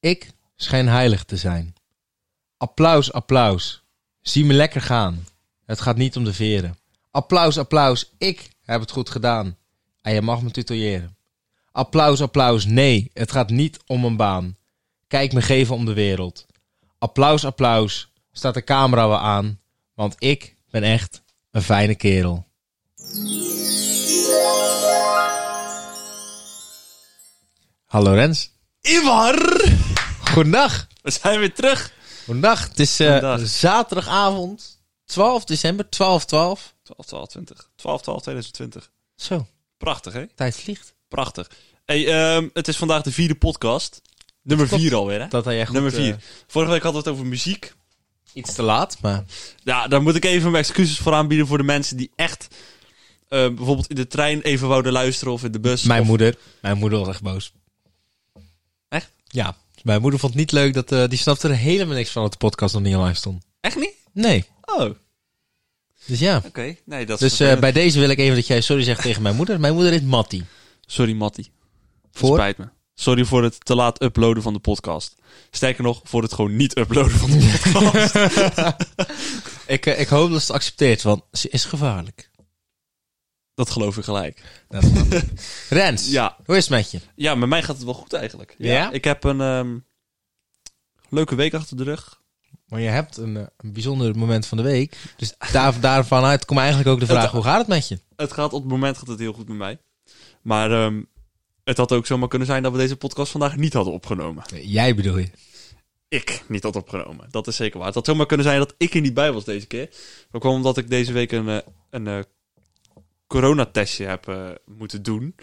Ik schijn heilig te zijn. Applaus, applaus. Zie me lekker gaan. Het gaat niet om de veren. Applaus, applaus. Ik heb het goed gedaan. En je mag me tutoyeren. Applaus, applaus. Nee, het gaat niet om een baan. Kijk me geven om de wereld. Applaus, applaus. Staat de camera wel aan. Want ik ben echt een fijne kerel. Hallo Rens. Ivar! Goedendag. We zijn weer terug. Goedendag. Het is eh, Goedendag. zaterdagavond 12 december, 12-12. 12, 12, 20. 12, 12, 2020. Zo, Prachtig, hè? tijd vliegt. Prachtig. Hey, ehm, het is vandaag de vierde podcast. Nummer Klopt. vier alweer, hè? Dat had jij goed... Nummer eh, vier. Vorige week hadden we het over muziek. iets te laat, maar... Ja, daar moet ik even mijn excuses voor aanbieden voor de mensen die echt eh, bijvoorbeeld in de trein even wouden luisteren of in de bus. Mijn of- moeder. Mijn moeder was echt boos. Echt? Ja. Mijn moeder vond het niet leuk dat... eh, die snapte er helemaal niks van dat de podcast nog niet online stond. Echt niet? Nee. Oh, oké. Dus ja. Nee, dat is Dus eh, vervelend. bij deze wil ik even dat jij sorry zegt tegen mijn moeder. Mijn moeder is Mattie. Sorry, Matty. Voor? Spijt me. Sorry voor het te laat uploaden van de podcast. Sterker nog, voor het gewoon niet uploaden van de podcast. Ik, eh, ik hoop dat ze het accepteert, want ze is gevaarlijk. dat geloof ik gelijk. Dat is wat. Rens, Ja, hoe is het met je? Ja, met mij gaat het wel goed eigenlijk. Ja? Ik heb een ehm, leuke week achter de rug. Maar je hebt een, eh, een bijzonder moment van de week. Dus daar, daarvan uit komt eigenlijk ook de vraag, Het- hoe gaat het met je? Het gaat op het moment gaat het heel goed met mij. Maar ehm, het had ook zomaar kunnen zijn dat we deze podcast vandaag niet hadden opgenomen. Jij bedoel je? Ik niet had opgenomen. Dat is zeker waar. Het had zomaar kunnen zijn dat ik er niet bij was deze keer. Dat kwam omdat ik deze week een, eh, een eh, coronatestje heb eh, moeten doen.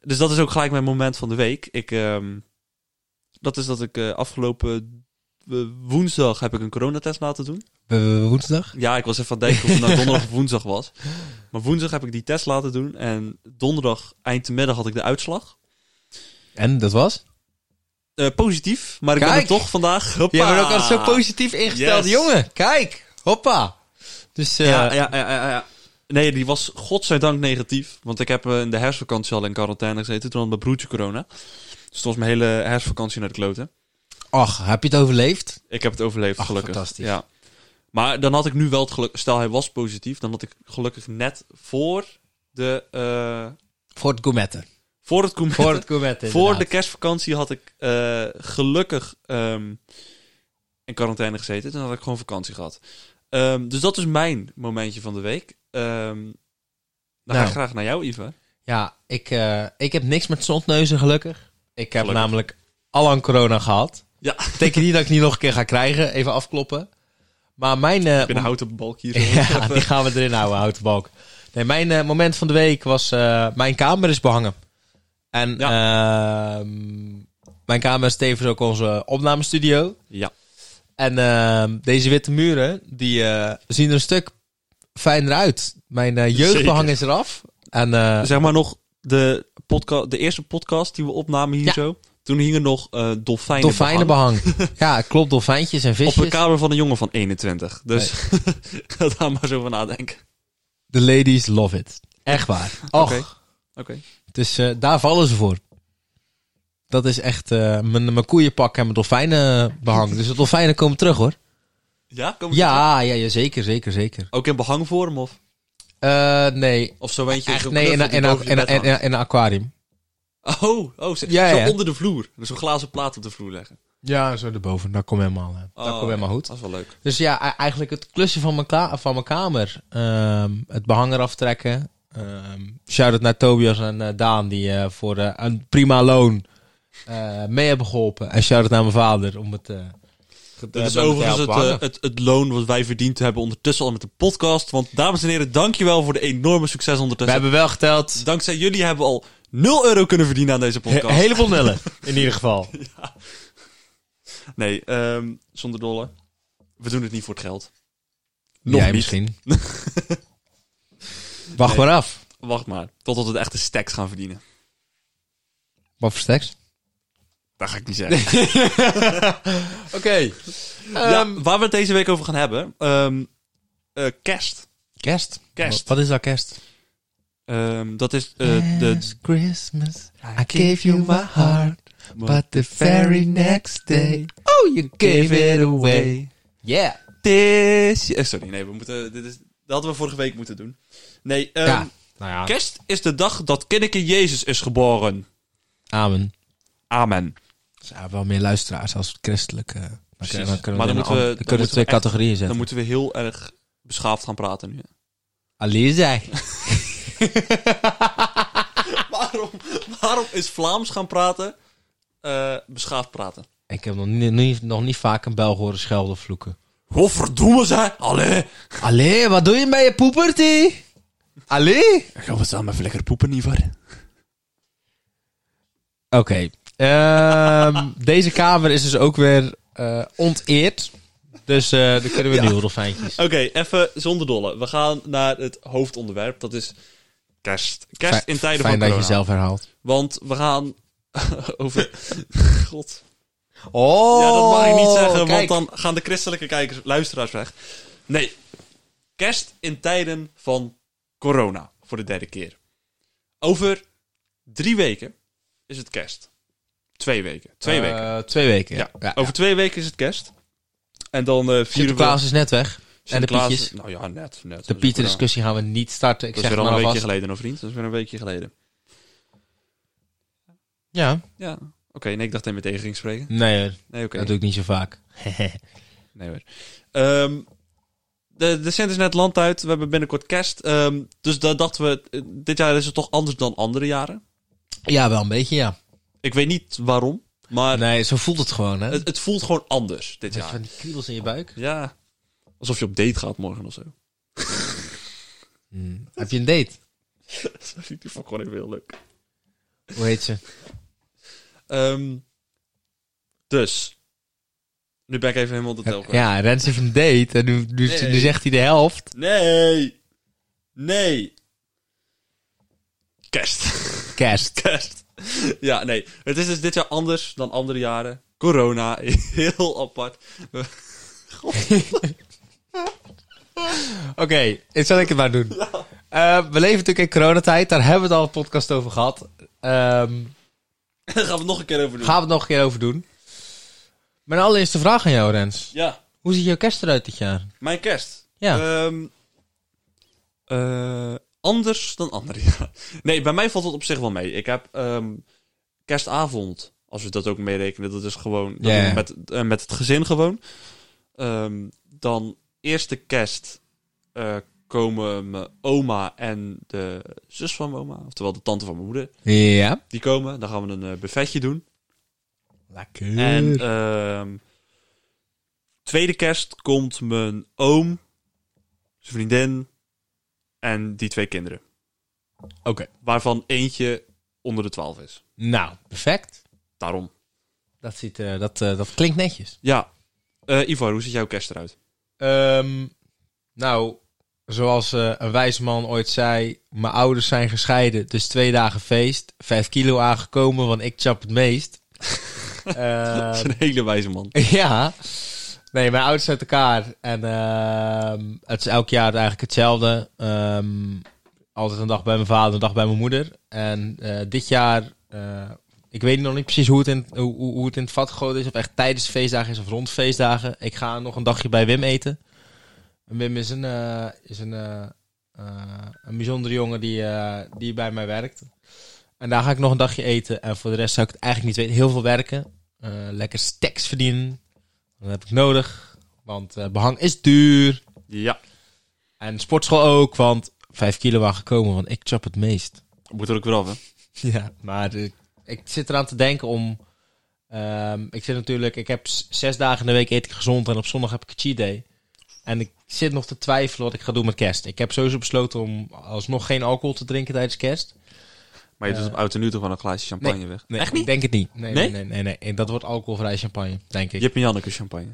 Dus dat is ook gelijk mijn moment van de week. Ik, ehm, dat is dat ik eh, afgelopen eh, woensdag heb ik een coronatest laten doen. We- we- we- Woensdag? Ja, ik was even aan het denken of het nou donderdag of woensdag was. Maar woensdag heb ik die test laten doen. En donderdag eind de middag had ik de uitslag. En dat was? Eh, positief, maar ik ben Kijk! er toch vandaag. Hoppa. Jij bent ook altijd zo positief ingesteld, Yes. jongen. Kijk, hoppa. Dus eh, Ja, ja, ja, ja, ja. Nee, die was godzijdank negatief. Want ik heb eh, in de herfstvakantie al in quarantaine gezeten. Toen had mijn broertje corona. Dus toen was mijn hele herfstvakantie naar de kloten. ach, heb je het overleefd? Ik heb het overleefd, Ach, gelukkig. fantastisch. Ja. Maar dan had ik nu wel het geluk... Stel, hij was positief. Dan had ik gelukkig net voor de... eh, Voor het gourmetten. voor het Koen Voor het gourmetten, Voor de inderdaad. kerstvakantie had ik eh, gelukkig ehm, in quarantaine gezeten. Toen had ik gewoon vakantie gehad. Ehm, dus dat is mijn momentje van de week. Ehm dan ga Nou. ik graag naar jou, Iva. Ja, ik, eh, ik heb niks met zondneuzen, gelukkig. Ik heb Gelukkig. namelijk allang corona gehad. Ja. Betekent niet dat ik niet nog een keer ga krijgen. Even afkloppen. Maar mijn... eh, Ik ben een houten balk hier. Ja, die gaan we erin houden, houten balk. Nee, mijn eh, moment van de week was... eh, mijn kamer is behangen. En ehm, mijn kamer is tevens ook onze opnamestudio. ja. En ehm, deze witte muren, die eh, zien er een stuk fijner uit. Mijn eh, jeugdbehang is eraf. En eh, Zeg maar nog de, podca- de eerste podcast die we opnamen hier Ja. zo. Toen hingen nog eh dolfijnen, dolfijnenbehang. ja, klopt, dolfijntjes en Op de visjes. kamer van een jongen van 21. Dus ga daar maar zo van nadenken. De ladies love it. Echt waar. Och, Oké. Oké. dus eh, daar vallen ze voor. Dat is echt eh, mijn, mijn koeienpak en mijn dolfijnenbehang. dus de dolfijnen komen terug hoor. Ja? Kom Ja, ja, ja zeker, zeker, zeker. Ook in behangvorm of, Eh, nee, of zo eentje? echt zo'n nee, in knuffel een- in die een- boven je in een- bed hangt? in een- in een aquarium. Oh, oh ze- Ja, zo ja. onder de vloer. Dus een glazen plaat op de vloer leggen. Ja, zo erboven. Dat komt helemaal, eh, dat Oh, komt helemaal goed. Dat is wel leuk. Dus ja, e- eigenlijk het klusje van mijn, kla- van mijn kamer. Ehm, het behang eraf trekken. Ehm Shout-out naar Tobias en eh, Daan, die eh, voor eh, een prima loon eh, mee hebben geholpen. En shout-out naar mijn vader om het... eh Dit is overigens het, eh, het, het loon wat wij verdiend hebben ondertussen al met de podcast. Want dames en heren, dankjewel voor de enorme succes We ondertussen. hebben wel geteld. Dankzij jullie hebben we al 0 euro kunnen verdienen aan deze Een podcast. heleboel nullen, in ieder geval. Nee, ehm, zonder dolle. We doen het niet voor het geld. Nog Jij niet. misschien. Wacht maar af. Wacht maar, totdat we de echte stacks gaan verdienen. Wat voor stacks? Dat ga ik niet zeggen. Oké. Ehm, ja, waar we het deze week over gaan hebben. ehm, eh, kerst. Kerst. Kerst. Wat is dat kerst? Ehm, dat is eh, de... Last Christmas, I gave you my heart, but the very next day, oh, you gave it away. Yeah. This... eh, sorry, nee, we moeten, dit is, dat hadden we vorige week moeten doen. Nee, ehm, Ja. Nou ja. kerst is de dag dat kindje Jezus is geboren. Amen. Amen. Er zijn wel meer luisteraars als christelijke. Dan kunnen- dan kunnen Maar we dan in moeten een we- an- dan dan kunnen we moeten we twee echt- categorieën zetten. Dan moeten we heel erg beschaafd gaan praten nu. Alleen zij. waarom, waarom is Vlaams gaan praten eh, beschaafd praten? Ik heb nog niet, niet- nog niet vaak een Belg horen schelden of vloeken. Hoe verdoemen ze? Allee. Allee, wat doe je bij je poepertje? Allee? Ik ga samen even lekker poepen, nietwaar? Oké. ehm, deze kamer is dus ook weer eh, onteerd. Dus eh dan kunnen we nieuwe dolfijntjes. Oké, even zonder dolle. We gaan naar het hoofdonderwerp. Dat is kerst. Kerst in tijden Fijn dat van je corona. zelf herhaalt. Want we gaan over... God. Oh, Ja, dat mag ik niet zeggen, kijk. want dan gaan de christelijke kijkers, luisteraars weg. Nee. Kerst in tijden van corona. Voor de derde keer. Over drie weken is het kerst. Twee weken. Twee Eh, weken. Twee weken. Ja. Ja. ja. Over twee weken is het kerst. En dan eh vieren we... Sinterklaas is net weg. En de Sinterklaas- Pietjes. Nou ja, net. net De Pieter-discussie gaan we niet starten. Ik Dat is zeg weer al een maar weekje alvast. geleden, nog vriend. Dat is weer een weekje geleden. Ja. Ja. Oké, nee, ik dacht dat je meteen ging spreken. Nee, hoor, Nee, oké. dat doe ik niet zo vaak. Nee hoor. Ehm, de, de Sint is net land uit. We hebben binnenkort kerst. Ehm, dus daar dachten we, eh, dit jaar is het toch anders dan andere jaren. ja, wel een beetje, ja. Ik weet niet waarom, maar Eh, Nee, zo voelt het gewoon, hè? het, het voelt gewoon anders dit Met jaar. Van die kriebels in je buik. Ja. Alsof je op date gaat morgen of zo. Hm. Heb je een date? Sorry, die vond ik gewoon even heel leuk. Hoe heet ze? Ehm, dus. Nu ben ik even helemaal de tel kwijt. Ja, Rens heeft een date en nu, nu, Nee. nu zegt hij de helft. Nee! Nee! Kerst. Kerst. Kerst. Ja, nee. Het is dus dit jaar anders dan andere jaren. Corona, heel apart. Oké, dit zal ik het maar doen. Eh, we leven natuurlijk in coronatijd, daar hebben we het al een podcast over gehad. Ehm, Daar gaan we het nog een keer over doen. gaan we het nog een keer over doen. Mijn allereerste vraag aan jou, Rens. Ja, Hoe ziet jouw kerst eruit dit jaar? mijn kerst. Ja, Ehm, eh, anders dan andere jaren. Nee, bij mij valt het op zich wel mee. Ik heb ehm, kerstavond, als we dat ook meerekenen. Dat is gewoon dat Ja, doen we ja. met, eh, met het gezin gewoon. Ehm, dan eerste kerst eh, komen mijn oma en de zus van mijn oma. Oftewel de tante van mijn moeder. ja. Die komen, dan gaan we een eh, buffetje doen. Lekker. En ehm, tweede kerst komt mijn oom, zijn vriendin en die twee kinderen. Oké, Waarvan eentje onder de twaalf is. nou, perfect. Daarom. Dat, ziet, eh, dat, eh, dat klinkt netjes. Ja. Eh Ivar, hoe ziet jouw kerst eruit? Ehm, nou, zoals eh, een wijs man ooit zei, mijn ouders zijn gescheiden, dus twee dagen feest. Vijf kilo aangekomen, want ik chap het meest. Dat is Ehm, een hele wijze man. ja. Nee, mijn ouders zijn uit elkaar. En ehm, het is elk jaar eigenlijk hetzelfde. Ehm, altijd een dag bij mijn vader, een dag bij mijn moeder. En eh, dit jaar, eh, ik weet nog niet precies hoe het, in, hoe, hoe hoe het in het vat gegooid is. Of echt tijdens de feestdagen is of rond feestdagen. Ik ga nog een dagje bij Wim eten. En Wim is een, eh, is een, eh, eh, een bijzondere jongen die, eh, die bij mij werkt. En daar ga ik nog een dagje eten. En voor de rest zou ik het eigenlijk niet weten. Heel veel werken. Eh, lekker stacks verdienen. Dat heb ik nodig. Want eh, behang is duur. Ja. En sportschool ook. Want vijf kilo aangekomen. Want ik chop het meest. Moet er ook weer af, hè? Ja. Maar eh, ik zit eraan te denken om... ehm, ik zit natuurlijk... Ik heb s- zes dagen in de week eet ik gezond. En op zondag heb ik een cheat day. En ik zit nog te twijfelen wat ik ga doen met kerst. Ik heb sowieso besloten om alsnog geen alcohol te drinken tijdens kerst. Maar je doet Eh. op oud en nieuw toch wel een glaasje champagne weg? Nee, Echt niet? Ik denk het niet. Nee, Nee? nee, nee. nee, nee, Dat wordt alcoholvrij champagne, denk ik. Je hebt een Janneke champagne.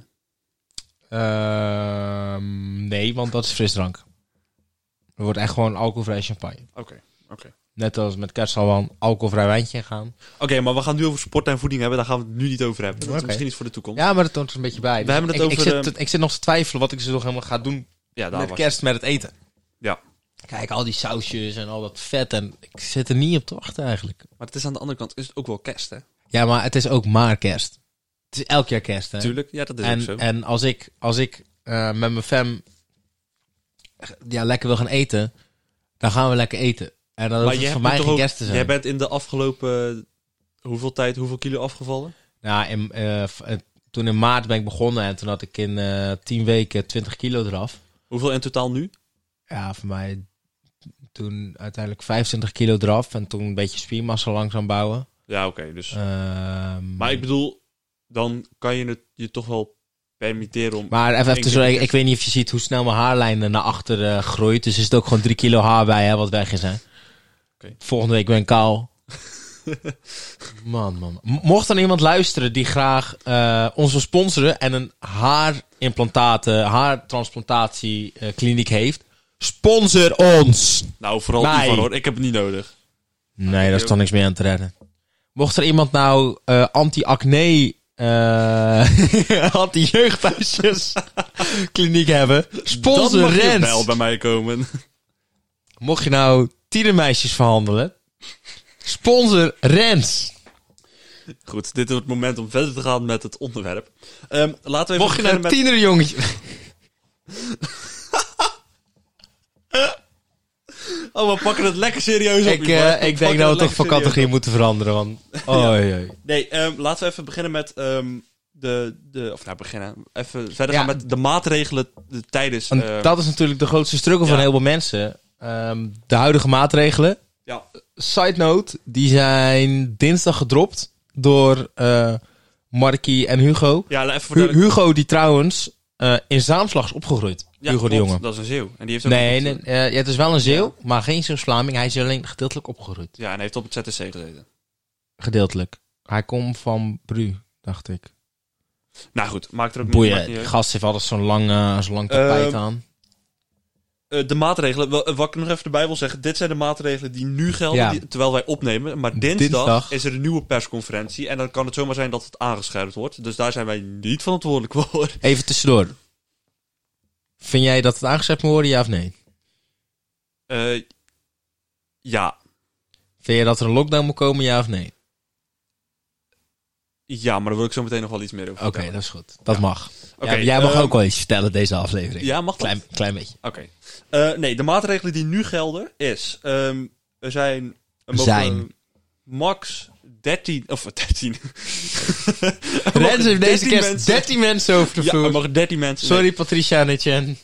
Ehm, nee, want dat is frisdrank. Er wordt echt gewoon alcoholvrij champagne. Oké. Oké, Net als met kerst zal wel een alcoholvrij wijntje gaan. Oké, maar we gaan het nu over sport en voeding hebben. Daar gaan we het nu niet over hebben. Dat is Oké. misschien iets voor de toekomst. Ja, Ja, maar dat toont er een beetje bij. We hebben het ik, over, Ik dus zit, ehm, te- ik zit nog te twijfelen wat ik zo nog helemaal ga doen daar met was kerst met het eten. Ja. Kijk, al die sausjes en al dat vet. En ik zit er niet op te wachten eigenlijk. Maar het is aan de andere kant is het ook wel kerst, hè? Ja, maar het is ook maar kerst. Het is elk jaar kerst, hè? Tuurlijk, ja, dat is ook zo. En, en als ik, als ik eh, met mijn fam ja, lekker wil gaan eten, dan gaan we lekker eten. En dan hoeft het jij voor moet mij toch geen ook- kerst te zijn. Jij bent in de afgelopen eh, hoeveel tijd, hoeveel kilo afgevallen? Nou, in, eh, v- eh, toen in maart ben ik begonnen en toen had ik in eh 10 weken 20 kilo eraf. Hoeveel in totaal nu? Ja, voor mij toen uiteindelijk 25 kilo eraf en toen een beetje spiermassa langzaam bouwen. Ja, oké. dus. Ehm, maar ik bedoel, dan kan je het je toch wel permitteren om. Maar even, Eén even keer tussendoor, per ik, ik weet niet of je ziet hoe snel mijn haarlijn er naar achter eh, groeit. Dus is het ook gewoon drie kilo haar bij, hè, wat weg is, hè. Oké. Volgende week ben ik kaal. man, man. M- Mocht er iemand luisteren die graag eh, ons wil sponsoren en een haarimplantaten, haartransplantatiekliniek kliniek heeft, sponsor ons! nou, vooral Nee. Ivan hoor. Ik heb het niet nodig. Nee, daar is toch niks meer aan te redden. Mocht er iemand nou eh, anti-acne, eh, anti-jeugdhuisjes kliniek hebben, dan sponsor mag je Rens. wel bij mij komen. Mocht je nou tienermeisjes verhandelen, sponsor Rens. Goed, dit is het moment om verder te gaan met het onderwerp. Ehm, laten we even Mocht je nou beginnen met... tienerjongetje... Oh, we pakken het lekker serieus op. Ik, Ivar. eh, ik We denk pakken het dat we toch nou lekker van serieus op. categorie moeten veranderen, want... Oei, oei. Nee, ehm, laten we even beginnen met ehm, de, de... Of nou, beginnen. Even verder Ja. gaan met de maatregelen de, tijdens... Want ehm, dat is natuurlijk de grootste struggle van ja. heel veel mensen. Ehm, de huidige maatregelen. ja, Side note, die zijn dinsdag gedropt door eh Markie en Hugo. ja, even Hu- vertellen. Hugo die trouwens eh, in Zaamslag is opgegroeid. Ja, Hugo de klopt, Jonge. Dat is een zeeuw. En die heeft ook Nee, op nee het- eh, ja, het is wel een Zeeuw, maar geen Zeeuws-Vlaming. Hij is alleen gedeeltelijk opgegroeid. Ja, en hij heeft op het ZTC gezeten. Gedeeltelijk. Hij komt van Bru, dacht ik. Nou goed, maakt er ook niet- maakt Boeien, niet die uit. gast heeft altijd zo'n lang, eh, zo'n lang tapijt Ehm, aan. Eh, de maatregelen, wel, eh, wat ik nog even erbij wil zeggen, dit zijn de maatregelen die nu gelden, Ja. die- terwijl wij opnemen. Maar dinsdag, Dinsdag. is er een nieuwe persconferentie en dan kan het zomaar zijn dat het aangescherpt wordt. Dus daar zijn wij niet verantwoordelijk voor. Even tussendoor. Vind jij dat het aangezet moet worden, ja of nee? Eh, ja. Vind jij dat er een lockdown moet komen, ja of nee? ja, maar daar wil ik zo meteen nog wel iets meer over Oké, vertellen. dat is goed. Dat Ja. mag. Oké, Ja, ehm, jij mag eh, ook wel iets vertellen deze aflevering. Ja, mag dat? Klein, klein beetje. Oké. Eh, nee, de maatregelen die nu gelden is... ehm, er zijn... er mogen Zijn. Max 13... Of 13... Er mogen Rens heeft deze 13 kerst mensen- 13 mensen over de Ja, vloer. er mogen 13 mensen... Sorry Patricia Netjen.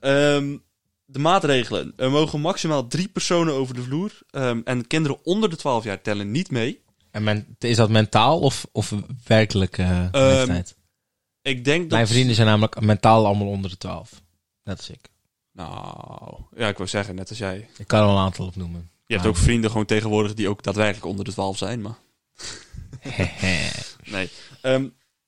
Ehm, de maatregelen. Er mogen maximaal drie personen over de vloer. Ehm, en kinderen onder de 12 jaar tellen niet mee. En men, is dat mentaal of, of werkelijk eh leeftijd? Ik denk dat... Mijn vrienden zijn namelijk mentaal allemaal onder de 12. Net als ik. Nou, ja, ik wou zeggen, net als jij. Ik kan er wel een aantal opnoemen. Je hebt Nou. ook vrienden gewoon tegenwoordig die ook daadwerkelijk onder de 12 zijn, maar... Nee. Ehm,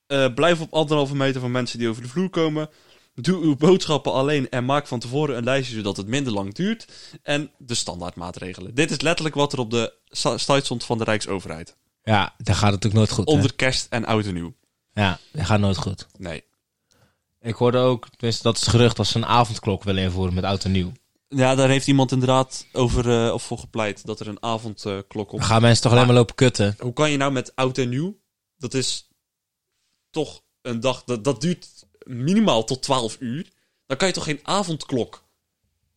eh, blijf op anderhalve meter van mensen die over de vloer komen. Doe uw boodschappen alleen en maak van tevoren een lijstje zodat het minder lang duurt. En de standaardmaatregelen. Dit is letterlijk wat er op de sa- site stond van de Rijksoverheid. ja, dan gaat het natuurlijk nooit goed. hè? Onder kerst en oud en nieuw. Ja, dat gaat nooit goed. Nee. Ik hoorde ook, tenminste dat is het gerucht, dat ze een avondklok willen invoeren met oud en nieuw. Ja, daar heeft iemand inderdaad over eh, of voor gepleit dat er een avondklok Dan op. gaan mensen toch alleen maar lopen kutten. Hoe kan je nou met oud en nieuw? Dat is toch een dag. Dat, dat duurt minimaal tot 12 uur. Dan kan je toch geen avondklok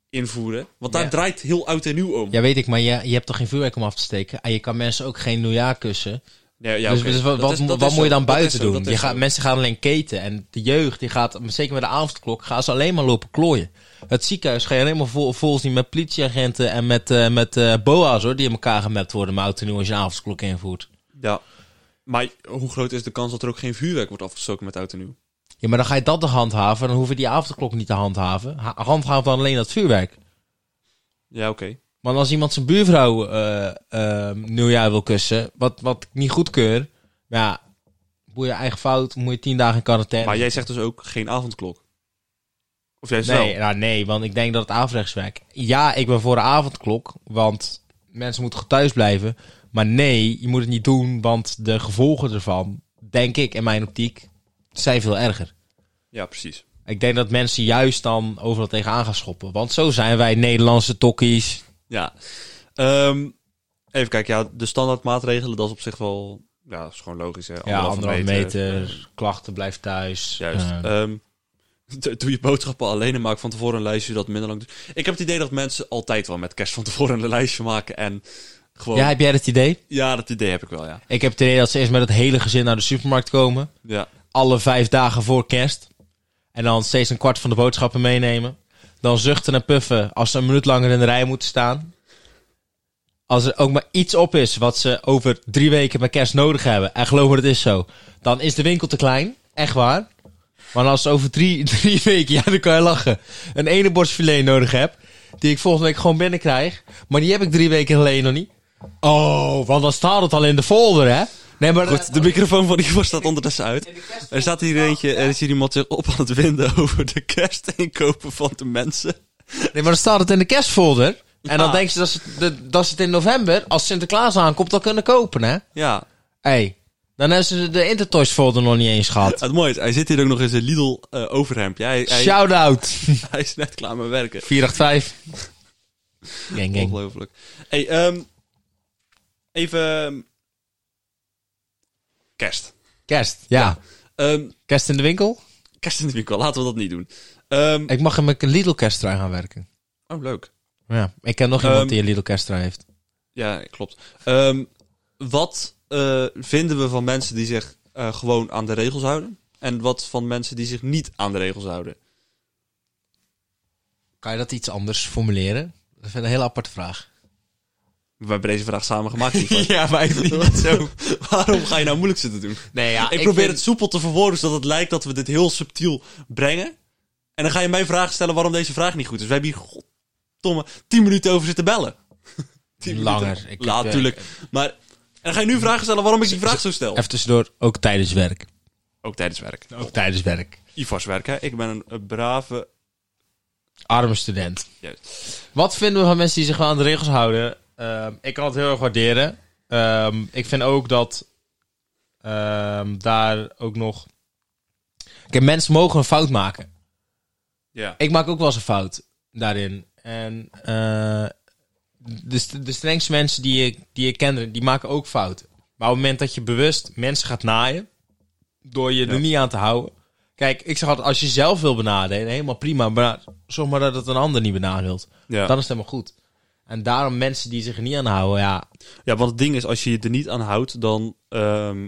invoeren? Want daar Ja. draait heel oud en nieuw om. Ja, weet ik, maar je, je hebt toch geen vuurwerk om af te steken? En je kan mensen ook geen nieuwjaar kussen. Nee, ja, dus, oké. dus wat, Dat wat, is- dat wat is moet je zo. dan Dat is buiten zo, doen? dat is Je zo. gaat, mensen gaan alleen keten. En de jeugd, die gaat, zeker met de avondklok, gaan ze alleen maar lopen klooien. Het ziekenhuis ga je helemaal vol, vol zien met politieagenten en met, eh, met eh, boa's hoor, die in elkaar gemapt worden met oud en nieuw als je een avondklok invoert. Ja. Maar hoe groot is de kans dat er ook geen vuurwerk wordt afgestoken met oud en nieuw? Ja, maar dan ga je dat toch handhaven. Dan hoef je die avondklok niet te handhaven. Ha- handhaaf dan alleen dat vuurwerk. Ja, oké. Want als iemand zijn buurvrouw eh, eh, nieuwjaar wil kussen, wat, wat ik niet goedkeur, ja, boeien je eigen fout, moet je tien dagen in quarantaine. Maar jij zegt dus ook geen avondklok. Of jij Nee, wel? nou nee, want ik denk dat het averechts werkt. Ja, ik ben voor de avondklok, want mensen moeten gewoon thuis blijven. Maar nee, je moet het niet doen, want de gevolgen ervan, denk ik in mijn optiek, zijn veel erger. Ja, precies. Ik denk dat mensen juist dan overal tegenaan gaan schoppen. Want zo zijn wij Nederlandse tokkies. Ja. Ehm, even kijken, ja, de standaardmaatregelen, dat is op zich wel... Ja, dat is gewoon logisch, hè. Ja, anderhalf meter, Eh, klachten, blijf thuis. Juist. Eh, Ehm, d- doe je boodschappen alleen en maak van tevoren een lijstje dat minder lang duurt. Ik heb het idee dat mensen altijd wel met kerst van tevoren een lijstje maken en gewoon... ja, Ja, heb jij dat idee? dat idee heb ik wel, ja. Ik heb het idee dat ze eerst met het hele gezin naar de supermarkt komen. Ja, Alle vijf dagen voor kerst. En dan steeds een kwart van de boodschappen meenemen. Dan zuchten en puffen als ze een minuut langer in de rij moeten staan. Als er ook maar iets op is wat ze over drie weken met kerst nodig hebben. En geloof me, dat is zo. Dan is de winkel te klein. Echt waar. Maar als ze over drie, drie weken, ja, dan kan je lachen. Een ene borstfilet nodig heb. Die ik volgende week gewoon binnenkrijg. Maar die heb ik drie weken geleden nog niet. Oh, want dan staat het al in de folder, hè? Nee, maar goed. De microfoon van Ivo staat ondertussen uit. Er staat hier eentje, eh, er is hier iemand zich op aan het winden over de kerstinkopen van de mensen. Nee, maar dan staat het in de kerstfolder. En dan Ja. denken ze dat ze, de- dat ze het in november, als Sinterklaas aankomt, al kunnen kopen, hè? Ja, Hé, dan hebben ze de Intertoys folder nog niet eens gehad. het mooie is, hij zit hier ook nog eens een Lidl eh, overhemdje. Hij, hij, Shout-out. hij is net klaar met werken. 485. Gang, gang. Ongelooflijk. Hey, ehm, even... ehm, Kerst. Kerst, ja. Ehm, Kerst in de winkel? kerst in de winkel, laten we dat niet doen. Ehm, Ik mag in mijn Lidl kersttrui gaan werken. oh, leuk. Ja, ik ken nog iemand Ehm, die een Lidl kersttrui heeft. Ja, klopt. Ehm, wat eh, vinden we van mensen die zich eh, gewoon aan de regels houden? En wat van mensen die zich niet aan de regels houden? Kan je dat iets anders formuleren? Dat vind ik een hele aparte vraag. We hebben deze vraag samen gemaakt. Ivo. maar ik Waarom ga je nou moeilijk zitten doen? Nee, ja, ik, probeer vind- het soepel te verwoorden, zodat het lijkt dat we dit heel subtiel brengen. En dan ga je mij vragen stellen waarom deze vraag niet goed is. We hebben hier, goddomme, 10 minuten over zitten bellen. 10 minuten. Langer. Ik Ja, heb, eh, natuurlijk. Maar, en dan ga je nu vragen stellen waarom ik die vraag zo stel. Even tussendoor, ook tijdens werk. Ook tijdens werk. Ook tijdens werk. Ivars werk, hè. Ik ben een, eh, brave... Arme student. Juist. Wat vinden we van mensen die zich wel aan de regels houden? Ehm, ik kan het heel erg waarderen. Ehm, ik vind ook dat ehm, daar ook nog. Kijk, mensen mogen een fout maken. Ja. Ik maak ook wel eens een fout daarin. En eh, de, st- de strengste mensen die ik, die ik ken, die maken ook fouten. Maar op het moment dat je bewust mensen gaat naaien, door je Ja. er niet aan te houden. Kijk, ik zeg altijd, als je zelf wil benadelen, helemaal prima. Maar zorg maar dat het een ander niet benadeelt. Ja. Dan is het helemaal goed. En daarom mensen die zich er niet aan houden, ja. ja, want het ding is, als je je er niet aan houdt, dan... ehm,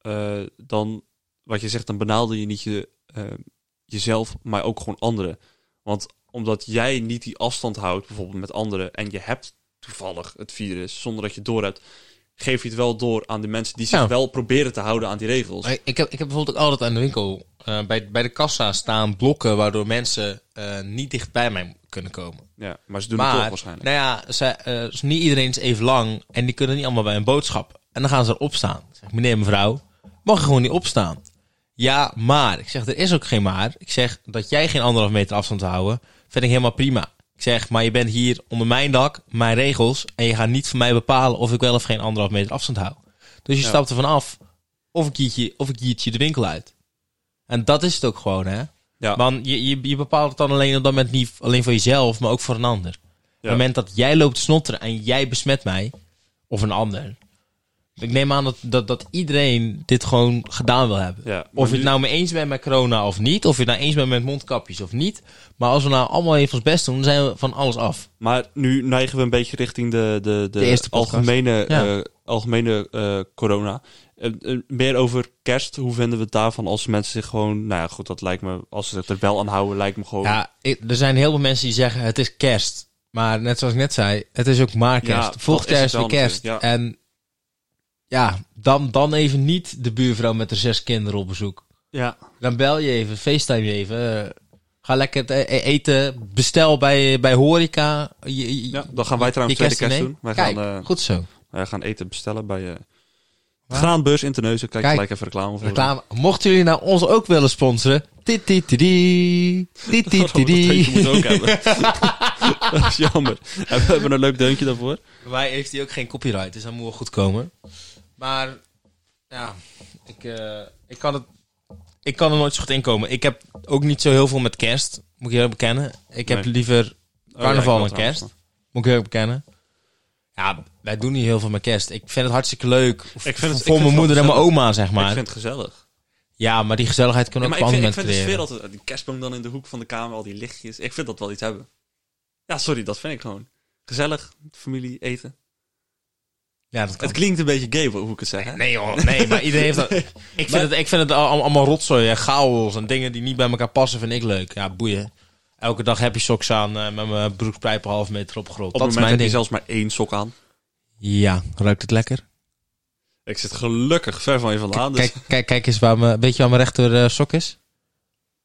eh, dan, wat je zegt, dan benaalde je niet je, ehm, jezelf, maar ook gewoon anderen. Want omdat jij niet die afstand houdt, bijvoorbeeld met anderen... en je hebt toevallig het virus, zonder dat je het door hebt... geef je het wel door aan de mensen die zich Ja. wel proberen te houden aan die regels. Maar Ik heb, ik heb bijvoorbeeld ook altijd aan de winkel, eh, bij, bij de kassa staan blokken waardoor mensen eh, niet dicht bij mij kunnen komen. Ja, maar ze doen het toch maar, waarschijnlijk. nou ja, ze, eh, dus niet iedereen is even lang en die kunnen niet allemaal bij een boodschap. En dan gaan ze erop staan. Ik zeg, meneer, mevrouw, mag je gewoon niet opstaan? Ja, maar. Ik zeg, er is ook geen maar. Ik zeg, dat jij geen anderhalf meter afstand wil houden, vind ik helemaal prima. Ik zeg, maar je bent hier onder mijn dak, mijn regels, en je gaat niet van mij bepalen of ik wel of geen anderhalf meter afstand hou. Dus je Ja. stapt ervan af, of ik kiet je, of ik kiet je de winkel uit. En dat is het ook gewoon, hè? Ja. Want je, je, je bepaalt het dan alleen op dat moment niet alleen voor jezelf, maar ook voor een ander. Op het moment dat jij loopt te snotteren en jij besmet mij, of een ander. Ik neem aan dat, dat, dat iedereen dit gewoon gedaan wil hebben. Ja, maar of je nu- het nou mee eens bent met corona of niet. Of je het nou eens bent met mondkapjes of niet. Maar als we nou allemaal even ons best doen, dan zijn we van alles af. Maar nu neigen we een beetje richting de, de, de, De eerste podcast. algemene, Ja. eh, algemene eh, corona. Eh, eh, meer over kerst. Hoe vinden we het daarvan als mensen zich gewoon... Nou ja, goed, dat lijkt me... Als ze zich er wel aan houden, lijkt me gewoon... Ja, ik- er zijn heel veel mensen die zeggen het is kerst. Maar net zoals ik net zei, het is ook maar Ja, kerst. dat Volg is het kerst wel weer kerst. natuurlijk, En ja, dan, dan even niet de buurvrouw met de zes kinderen op bezoek. ja. Dan bel je even, facetime je even. eh, ga lekker te- e- eten, bestel bij, bij horeca. Je, je- Ja, Dan gaan wij je trouwens tweede kerst kerstdiner. doen. Wij Kijk, gaan, eh, goed zo. wij gaan eten bestellen bij... eh Waar? Graanbeurs in Terneuzen. Kijk, Kijk. gelijk even reclame voor. Reclame. Mochten jullie nou ons ook willen sponsoren... Dit, dit, dit, dit, Oh, dit, dat deuntje dit. moet ook hebben. dat is jammer. En we hebben een leuk deuntje daarvoor. Bij mij heeft hij ook geen copyright, dus dan moet wel goed komen. Maar, ja, ik, eh, ik kan het... ik kan er nooit zo goed in komen. Ik heb ook niet zo heel veel met kerst, moet ik heel bekennen. Ik heb Nee. liever, Oh ja, ik Carnaval en wil trouwens kerst. nog. moet ik heel bekennen... Ja, wij doen niet heel veel met kerst. Ik vind het hartstikke leuk. v- vind het- ik voor vind mijn het moeder en mijn wel oma, zeg maar. Ik vind het gezellig. Ja, maar die gezelligheid kan Ja, ook maar op ik andere vind, ik momenten vind de sfeer creëren. altijd... Die kerstboom dan in de hoek van de kamer, al die lichtjes. Ik vind dat wel iets hebben. Ja, sorry, dat vind ik gewoon. Gezellig, familie, eten. Ja, dat kan. Het klinkt een beetje gay, hoe ik het zeg. Hè? Nee joh, nee, maar iedereen heeft dat... Ik vind, Maar- het, ik vind het al- allemaal rotzooi en chaos en dingen die niet bij elkaar passen vind ik leuk. Ja, boeien. Elke dag heb je socks aan eh, met mijn broekspijp een half meter opgerold. Op dat het is moment mijn heb je ding. zelfs maar één sok aan. Ja, ruikt het lekker? Ik zit gelukkig ver van je vandaan. Dus... Kijk, kijk, kijk eens waar mijn... Weet je waar mijn rechter eh, sok is?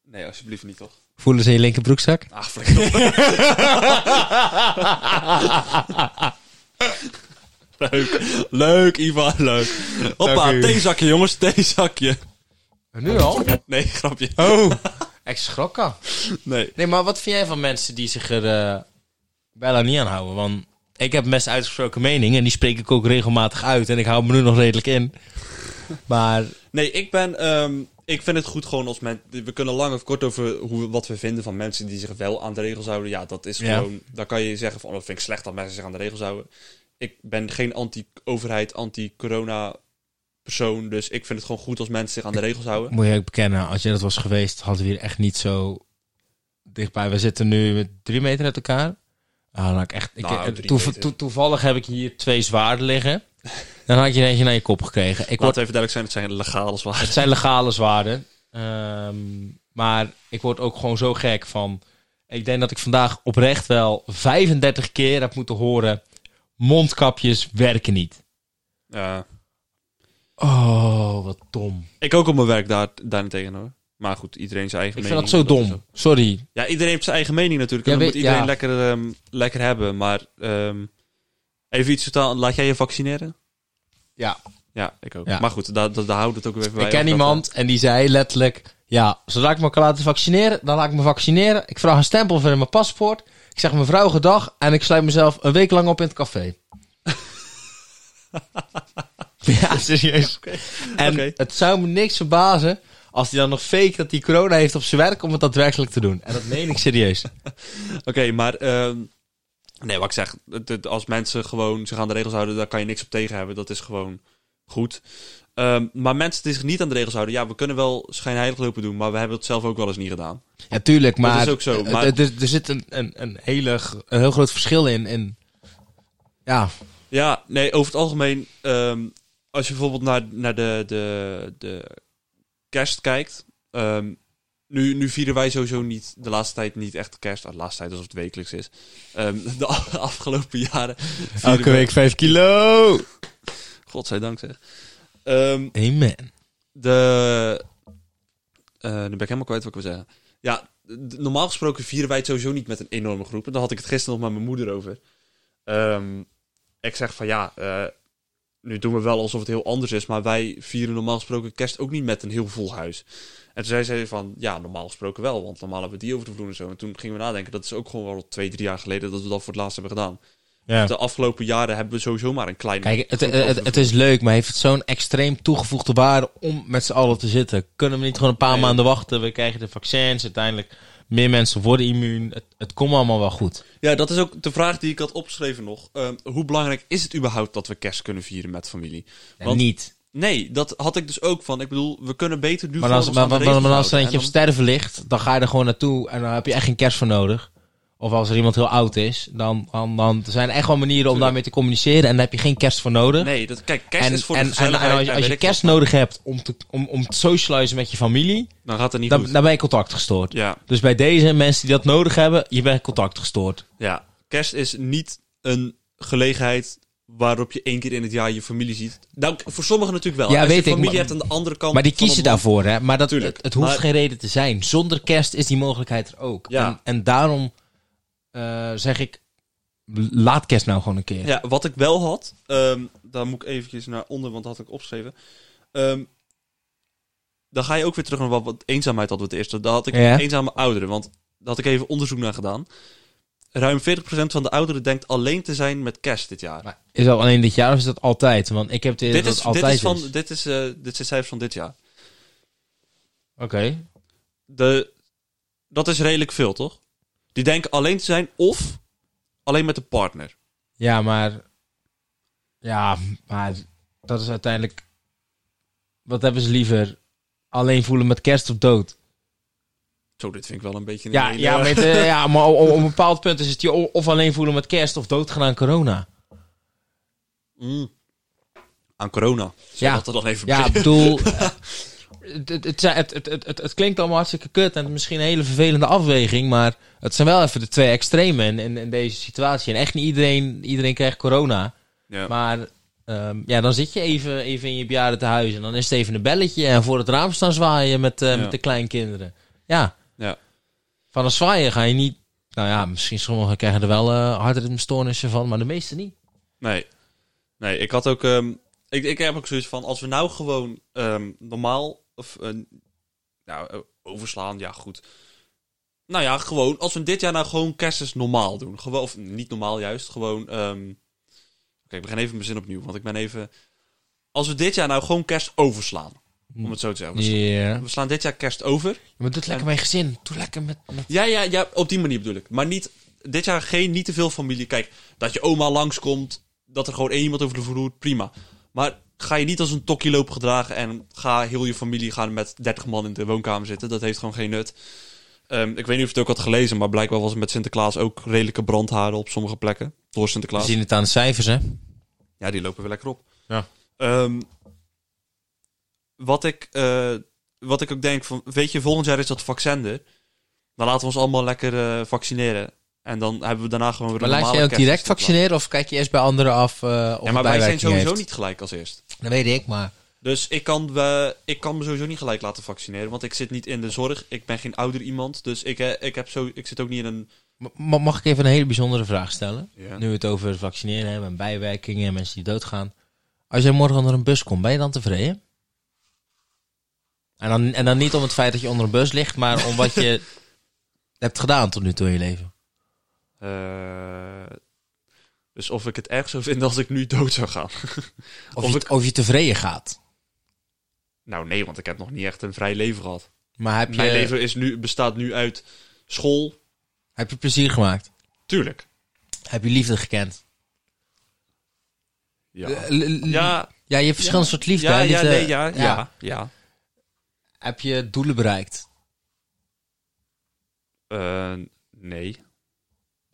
Nee, alsjeblieft niet, toch? Voelen ze in je linker broekzak? Ah, flikker op. leuk. Leuk, Ivan, leuk. Hoppa, Dank u. theezakje, jongens, theezakje. Eh, Nu al? Nee, grapje. Oh! Ik schrok al. Nee. Nee, maar wat vind jij van mensen die zich er eh, bijna niet aan houden? Want ik heb best uitgesproken mening en die spreek ik ook regelmatig uit. En ik hou me nu nog redelijk in. Maar Nee, ik ben... ehm, ik vind het goed gewoon als men... We kunnen lang of kort over hoe, wat we vinden van mensen die zich wel aan de regels houden. Ja, dat is Ja. gewoon... Dan kan je zeggen van, oh, dat vind ik slecht dat mensen zich aan de regels houden. Ik ben geen anti-overheid, anti-corona persoon. Dus ik vind het gewoon goed als mensen zich aan de regels houden. moet je ook bekennen, als jij dat was geweest, hadden we hier echt niet zo dichtbij. We zitten nu met drie meter uit elkaar. Ah, dan had ik echt, ik, Nou, eh, drie toev- meter. toe- toevallig heb ik hier twee zwaarden liggen. Dan had je er eentje naar je kop gekregen. Ik word Laat even duidelijk zijn, het zijn legale zwaar. Het zijn legale zwaarden. Ehm, maar ik word ook gewoon zo gek van. Ik denk dat ik vandaag oprecht wel 35 keer heb moeten horen. Mondkapjes werken niet. Ja. Oh, wat dom. Ik ook op mijn werk daar, daarentegen hoor. Maar goed, iedereen zijn eigen Ik vind mening. dat zo is dom. Sorry. Ja, iedereen heeft zijn eigen mening natuurlijk. En Ja, dat weet- moet iedereen ja. lekker, ehm, lekker hebben. Maar ehm, even iets totaal... Laat jij je vaccineren? Ja. Ja, ik ook. Ja. Maar goed, daar, daar, daar houdt het ook weer even bij. Ik ken of dat, iemand en die zei letterlijk: Ja, zodra ik me kan laten vaccineren, dan laat ik me vaccineren. Ik vraag een stempel voor in mijn paspoort. Ik zeg mevrouw gedag en ik sluit mezelf een week lang op in het café. ja, serieus. En Oké. het zou me niks verbazen als hij dan nog fake dat hij corona heeft op zijn werk om het daadwerkelijk te doen. En dat meen ik serieus. eh, Oké, maar... ehm, nee, wat ik zeg. het- het- als mensen gewoon zich aan de regels houden, daar kan je niks op tegen hebben. Dat is gewoon goed. Ehm, maar mensen die zich niet aan de regels houden... Ja, we kunnen wel schijnheilig lopen doen. Maar we hebben het zelf ook wel eens niet gedaan. Ja, tuurlijk, maar, is ook zo, eh, maar- Er, er zit een, een, een, hele, g- een heel groot verschil in. in ja, Ja, nee, over het algemeen. ehm, als je bijvoorbeeld naar, naar de, de, de kerst kijkt. ehm, nu, nu vieren wij sowieso niet de laatste tijd niet echt kerst. Ah, de laatste tijd alsof het wekelijks is. Ehm, de a- afgelopen jaren. vieren elke we- week 5 kilo. Godzijdank zeg. Ehm, Amen. de. eh nu ben ik helemaal kwijt wat ik wil zeggen. Ja, d- normaal gesproken vieren wij het sowieso niet met een enorme groep. En daar had ik het gisteren nog met mijn moeder over. Ehm, ik zeg van ja, eh, nu doen we wel alsof het heel anders is. Maar wij vieren normaal gesproken kerst ook niet met een heel vol huis. En toen zei ze van ja, normaal gesproken wel. Want normaal hebben we die over de vloer en zo. En toen gingen we nadenken. Dat is ook gewoon wel twee, drie jaar geleden dat we dat voor het laatst hebben gedaan. Ja. De afgelopen jaren hebben we sowieso maar een klein. Kijk, het, groep het, over het, de het is leuk, maar heeft het zo'n extreem toegevoegde waarde om met z'n allen te zitten? Kunnen we niet gewoon een paar Nee. maanden wachten? We krijgen de vaccins, uiteindelijk meer mensen worden immuun. Het, het komt allemaal wel goed. Ja, dat is ook de vraag die ik had opgeschreven nog. Ehm, hoe belangrijk is het überhaupt dat we kerst kunnen vieren met familie? Want- niet. Nee, dat had ik dus ook van. Ik bedoel, we kunnen beter nu Maar gewoon als, ons maar, aan de maar, maar, regels als er houden. eentje op En sterven ligt, dan ga je er gewoon naartoe en dan heb je echt geen kerst voor nodig. Of als er iemand heel oud is, dan, dan, dan zijn er echt wel manieren om Tuurlijk. daarmee te communiceren en dan heb je geen kerst voor nodig. dan- Nee, dat, kijk, kerst en, is voor de en, en, en gezelligheid. als je, en als je weet ik wat. kerst nodig hebt om te, om, om te socializen met je familie, Dan gaat het niet dan, goed. dan ben je contact gestoord. Ja, Dus bij deze mensen die dat nodig hebben, je bent contact gestoord. ja, kerst is niet een gelegenheid waarop je één keer in het jaar je familie ziet. Nou, k- voor sommigen natuurlijk wel. Ja, Als weet je ik, familie maar- hebt aan de andere kant Maar die van kiezen het land- daarvoor, hè? Maar dat, Tuurlijk. het, het hoeft Maar- geen reden te zijn. Zonder kerst is die mogelijkheid er ook. Ja. En, en daarom eh, zeg ik, laat kerst nou gewoon een keer. Ja, wat ik wel had, ehm, daar moet ik eventjes naar onder, want dat had ik opgeschreven. Ehm, dan ga je ook weer terug naar wat, wat eenzaamheid hadden we het eerst. Daar had ik Ja. eenzame ouderen, want daar had ik even onderzoek naar gedaan. Ruim 40% van de ouderen denkt alleen te zijn met kerst dit jaar. Maar is dat alleen dit jaar of is dat altijd? Want ik heb het idee dit, dat is, het dit altijd is van, dit is, eh, dit zijn cijfers van dit jaar. Oké. De, dat is redelijk veel, toch? Die denken alleen te zijn of alleen met een partner. Ja, maar... Ja, maar dat is uiteindelijk... Wat hebben ze liever? Alleen voelen met kerst of dood? Zo, dit vind ik wel een beetje... een Ja, hele- ja, met, eh, ja maar o- o- op, een bepaald punt is het je o- of alleen voelen met kerst of doodgaan aan corona. Mm. Aan corona. Ja. Ja. Dat er dan even Ja, ik beginnen. bedoel... eh, Het, het, het, zijn- het, het, het, het- het klinkt allemaal hartstikke kut en misschien een hele vervelende afweging, maar het zijn wel even de twee extremen in, in, in deze situatie. En echt niet iedereen, iedereen krijgt corona, Ja. maar ehm, ja, dan zit je even, even in je bejaarden tehuis en dan is het even een belletje en voor het raam staan zwaaien met, eh, Ja. met de kleinkinderen. Ja, Ja. van een zwaaien ga je niet... Nou ja, misschien sommigen krijgen er wel eh hartritmestoornissen van, maar de meeste niet. Nee. Nee, ik had ook. ehm, ik, ik heb ook zoiets van. Als we nou gewoon ehm, normaal. Of, eh, nou, eh, overslaan, ja, goed. Nou ja, gewoon. Als we dit jaar nou gewoon kerstens normaal doen. Gewoon, of niet normaal juist. Gewoon. ehm, Oké, ik begin even mijn zin opnieuw. Want ik ben even. Als we dit jaar nou gewoon kerst overslaan. Om het zo te zeggen. We, sla- Hm. Ja. we slaan dit jaar kerst over. Maar doe het lekker met je gezin. Doe lekker met... met- Ja, ja, ja, op die manier bedoel ik. Maar niet, dit jaar geen, niet te veel familie. Kijk, dat je oma langskomt, dat er gewoon één iemand over de vloer roept, prima. Maar ga je niet als een tokkie lopen gedragen en ga heel je familie gaan met 30 man in de woonkamer zitten. Dat heeft gewoon geen nut. Ehm, ik weet niet of je het ook had gelezen, maar blijkbaar was het met Sinterklaas ook redelijke brandharen op sommige plekken. Door We Sinterklaas. zien het aan de cijfers, hè? Ja, die lopen weer lekker op. Ja. Ehm, wat, ik, eh, wat ik ook denk van, weet je, volgend jaar is dat vaccin er. Dan laten we ons allemaal lekker eh, vaccineren. En dan hebben we daarna gewoon weer Maar een laat normale je ook kerst- direct vaccineren of kijk je eerst bij anderen af eh of Ja, maar het wij zijn bijwerking sowieso heeft? niet gelijk als eerst. Dat weet ik, maar... Dus ik kan, we, ik kan me sowieso niet gelijk laten vaccineren. Want ik zit niet in de zorg. Ik ben geen ouder iemand. Dus ik, eh, ik, heb zo, ik zit ook niet in een... Ma- ma- mag ik even een hele bijzondere vraag stellen? Nu we het over vaccineren hebben en bijwerkingen en mensen die doodgaan. Als jij morgen onder een bus komt, ben je dan tevreden? En dan, en dan niet om het feit dat je onder een bus ligt, maar om wat je hebt gedaan tot nu toe in je leven. Eh, dus of ik het erg zou vinden als ik nu dood zou gaan. Of, Of je, ik- of je tevreden gaat. Nou nee, want ik heb nog niet echt een vrij leven gehad. Maar heb je, Mijn leven is nu, bestaat nu uit school. heb je plezier gemaakt? Tuurlijk. Heb je liefde gekend? Ja. Eh, dus, l- l- ja, Ja, je hebt verschillende soort liefde. ja, hè? eh, ja, Liefde- nee, ja, ja, ja. Heb je doelen bereikt? Eh, nee.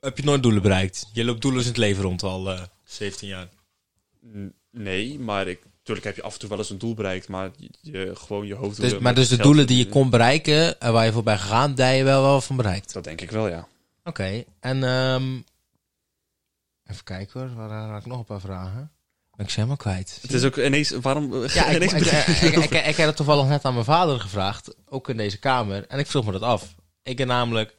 Heb je nooit doelen bereikt? Je loopt doelen in het leven rond al 17 jaar. N- Nee, maar ik, tuurlijk heb je af en toe wel eens een doel bereikt, maar je, je- gewoon je hoofd. Dus, maar dus de doelen die je kon bereiken en waar je voor bij gegaan, daar heb je wel, wel van bereikt. Dat denk ik wel, ja. Oké, en ehm, even kijken hoor, waar waar had ik nog een paar vragen? Ben ik ze helemaal kwijt. Het is ook ineens, waarom? Ja, ik, ik, ineens ik, begin- ik, ik, ik heb het toevallig net aan mijn vader gevraagd, ook in deze kamer. En ik vroeg me dat af. Ik heb namelijk,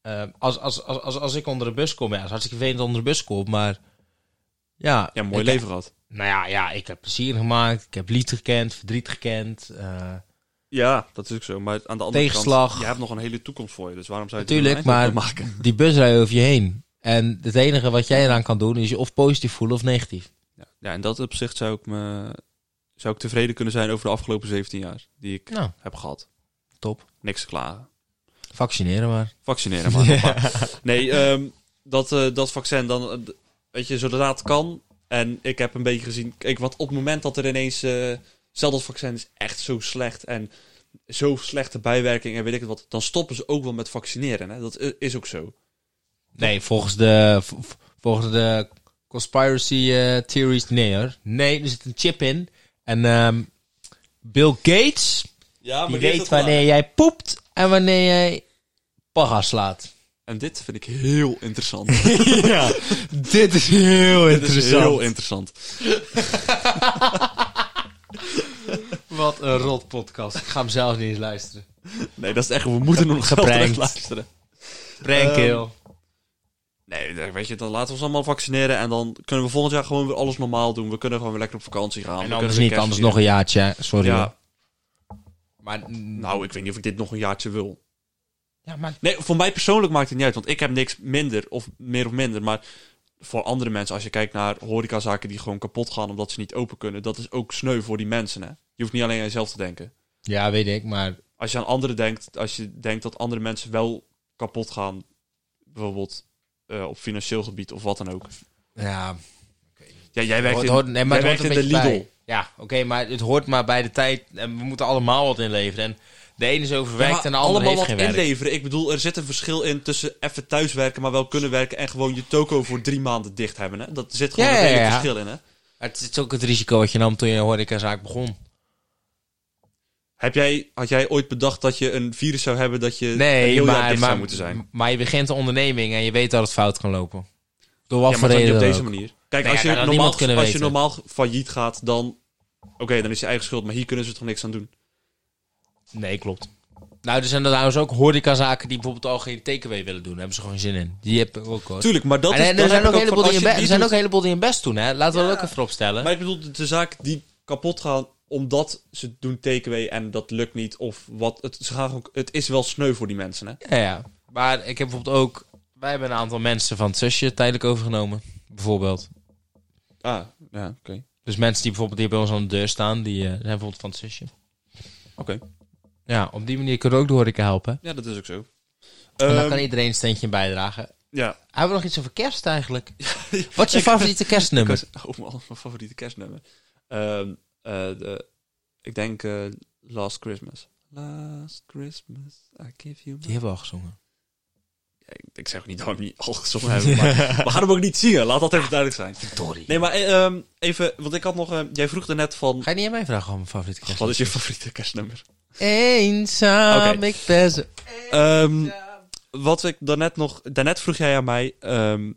eh, als, als, als, als, als ik onder de bus kom, ja, het is hartstikke vervelend onder de bus kom, maar ja. ja, mooi ik- leven gehad. Nou ja, ja, ik heb plezier gemaakt, ik heb lied gekend, verdriet gekend. eh, Ja, dat is ook zo. Maar aan de andere Tegenslag. kant, je hebt nog een hele toekomst voor je. Dus waarom zou je Natuurlijk, er een eind op maar- maken? die bus rijdt over je heen. En het enige wat jij eraan kan doen is je of positief voelen of negatief. Ja, ja, in dat opzicht zou ik me, zou ik tevreden kunnen zijn over de afgelopen 17 jaar die ik Nou, heb gehad. top. Niks te klagen. Vaccineren maar. Vaccineren maar. Maar Nee, ehm, dat, eh, dat vaccin dan, eh, d- weet je, zodra het kan. En ik heb een beetje gezien, kijk, want op het moment dat er ineens, eh stel dat vaccin is echt zo slecht en zo slechte bijwerking en weet ik het wat, dan stoppen ze ook wel met vaccineren. Hè? Dat i- is ook zo. Nee, volgens de, v- v- volgens de conspiracy eh, theories, nee hoor. Nee, er zit een chip in. En ehm, Bill Gates, Ja, die weet wanneer jij poept en wanneer jij paga slaat. En dit vind ik heel interessant. ja, dit is heel dit is heel interessant. Wat een rot podcast. Ik ga hem zelf niet eens luisteren. Nee, dat is echt, we moeten nog Geprankt. geprankt luisteren. Prank Ehm, heel. Nee, dan- weet je, dan laten we ons allemaal vaccineren. En dan kunnen we volgend jaar gewoon weer alles normaal doen. We kunnen gewoon weer lekker op vakantie gaan. En We anders kunnen weer niet, anders nog kerstvieren. een jaartje. hè. Sorry. hoor. Ja, Maar, nou, ik weet niet of ik dit nog een jaartje wil. ja, maar Nee, voor mij persoonlijk maakt het niet uit. Want ik heb niks minder of meer of minder. Maar voor andere mensen, als je kijkt naar horecazaken die gewoon kapot gaan omdat ze niet open kunnen. Dat is ook sneu voor die mensen, hè. Je hoeft niet alleen aan jezelf te denken. Ja, weet ik, maar Als je aan anderen denkt, als je denkt dat andere mensen wel kapot gaan, bijvoorbeeld eh, op financieel gebied of wat dan ook. ja. Ja, jij Oh, Het werkt in, hoort- nee, maar jij het hoort werkt in een beetje de Lidl. bij. Ja, oké, maar het hoort maar bij de tijd. En we moeten allemaal wat inleveren. En de ene is Ja, overwerkt maar en de andere allemaal heeft geen wat werk. inleveren. Ik bedoel, er zit een verschil in tussen even thuiswerken, maar wel kunnen werken en gewoon je toko voor drie maanden dicht hebben. Hè? Dat zit gewoon Ja, een ja, redelijk ja. verschil in. Hè? Het is ook het risico wat je nam toen je een horecazaak begon. Heb jij, had jij ooit bedacht dat je een virus zou hebben dat je een Nee, heel jaar maar, dicht maar, zou moeten zijn? maar je begint een onderneming en je weet dat het fout kan lopen. Door wat ja, voor maar dan niet reden op dan deze ook. manier. Kijk, Nee, als, ja, je dat had normaal, niemand kunnen als je weten. normaal failliet gaat, dan... Oké, dan is je eigen schuld, maar hier kunnen ze toch niks aan doen. Nee, klopt. Nou, er zijn er trouwens ook horecazaken die bijvoorbeeld al geen TKW willen doen. Daar hebben ze gewoon geen zin in. Die heb ik ook hoor. Tuurlijk, maar dat en is... en dan er heb zijn ik ook een van, heleboel als die in je be- er die zijn doet- ook een heleboel die hun best doen, hè. Laten we Ja. dat ook even opstellen. Maar ik bedoel, de- de zaak die kapot gaan omdat ze doen TKW en dat lukt niet of wat. Het, ze gaan gewoon, het is wel sneu voor die mensen, hè? Ja, ja. Maar ik heb bijvoorbeeld ook... Wij hebben een aantal mensen van het zusje tijdelijk overgenomen. Bijvoorbeeld. Ah, ja, oké. Dus mensen die bijvoorbeeld hier bij ons aan de deur staan, die eh, zijn bijvoorbeeld van het zusje. Oké. Ja, op die manier kunnen we ook de horeca helpen. Ja, dat is ook zo. En dan Ehm, kan iedereen een steentje bijdragen. Ja. Hebben we nog iets over kerst eigenlijk? Wat is je favoriete Ik kerstnummer? was- oh man, mijn favoriete kerstnummer. Ehm, eh, de, ik denk eh, Last Christmas. Last Christmas, I give you my... Die hebben we al gezongen. Ja, ik- Ik zeg niet dat we hem niet al gezongen hebben, maar we gaan hem ook niet zingen. Laat dat even duidelijk zijn. Victorie. Nee, maar eh, ehm, even, want ik had nog... eh, jij vroeg daarnet van... Ga je niet aan mij vragen om mijn favoriete kerst? Wat is je favoriete kerstnummer? Eenzaam, Oké. ik ben zo- Ehm, wat ik daarnet nog... Daarnet vroeg jij aan mij ehm,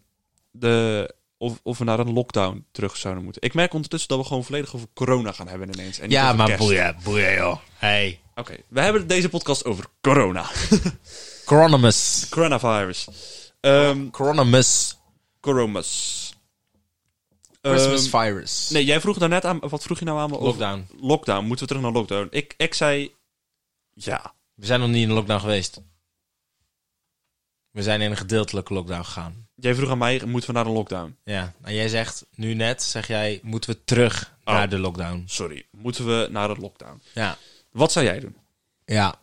de, of, of we naar een lockdown terug zouden moeten. Ik merk ondertussen dat we gewoon volledig over corona gaan hebben ineens. En niet Ja, over maar kerst. boeien, boeien joh. Hey. Oké, we hebben deze podcast over corona. Coronamus. Coronavirus. Ehm Coronamus. coronavirus. Ehm, Christmas virus. nee, jij vroeg daarnet aan... Wat vroeg je nou aan me over... Lockdown. Lockdown. Moeten we terug naar lockdown? Ik, ik zei... Ja. We zijn nog niet in een lockdown geweest. We zijn in een gedeeltelijke lockdown gegaan. Jij vroeg aan mij, moeten we naar een lockdown? Ja, en jij zegt nu net, zeg jij, moeten we terug Oh. naar de lockdown. Sorry, moeten we naar een lockdown? Ja. Wat zou jij doen? Ja,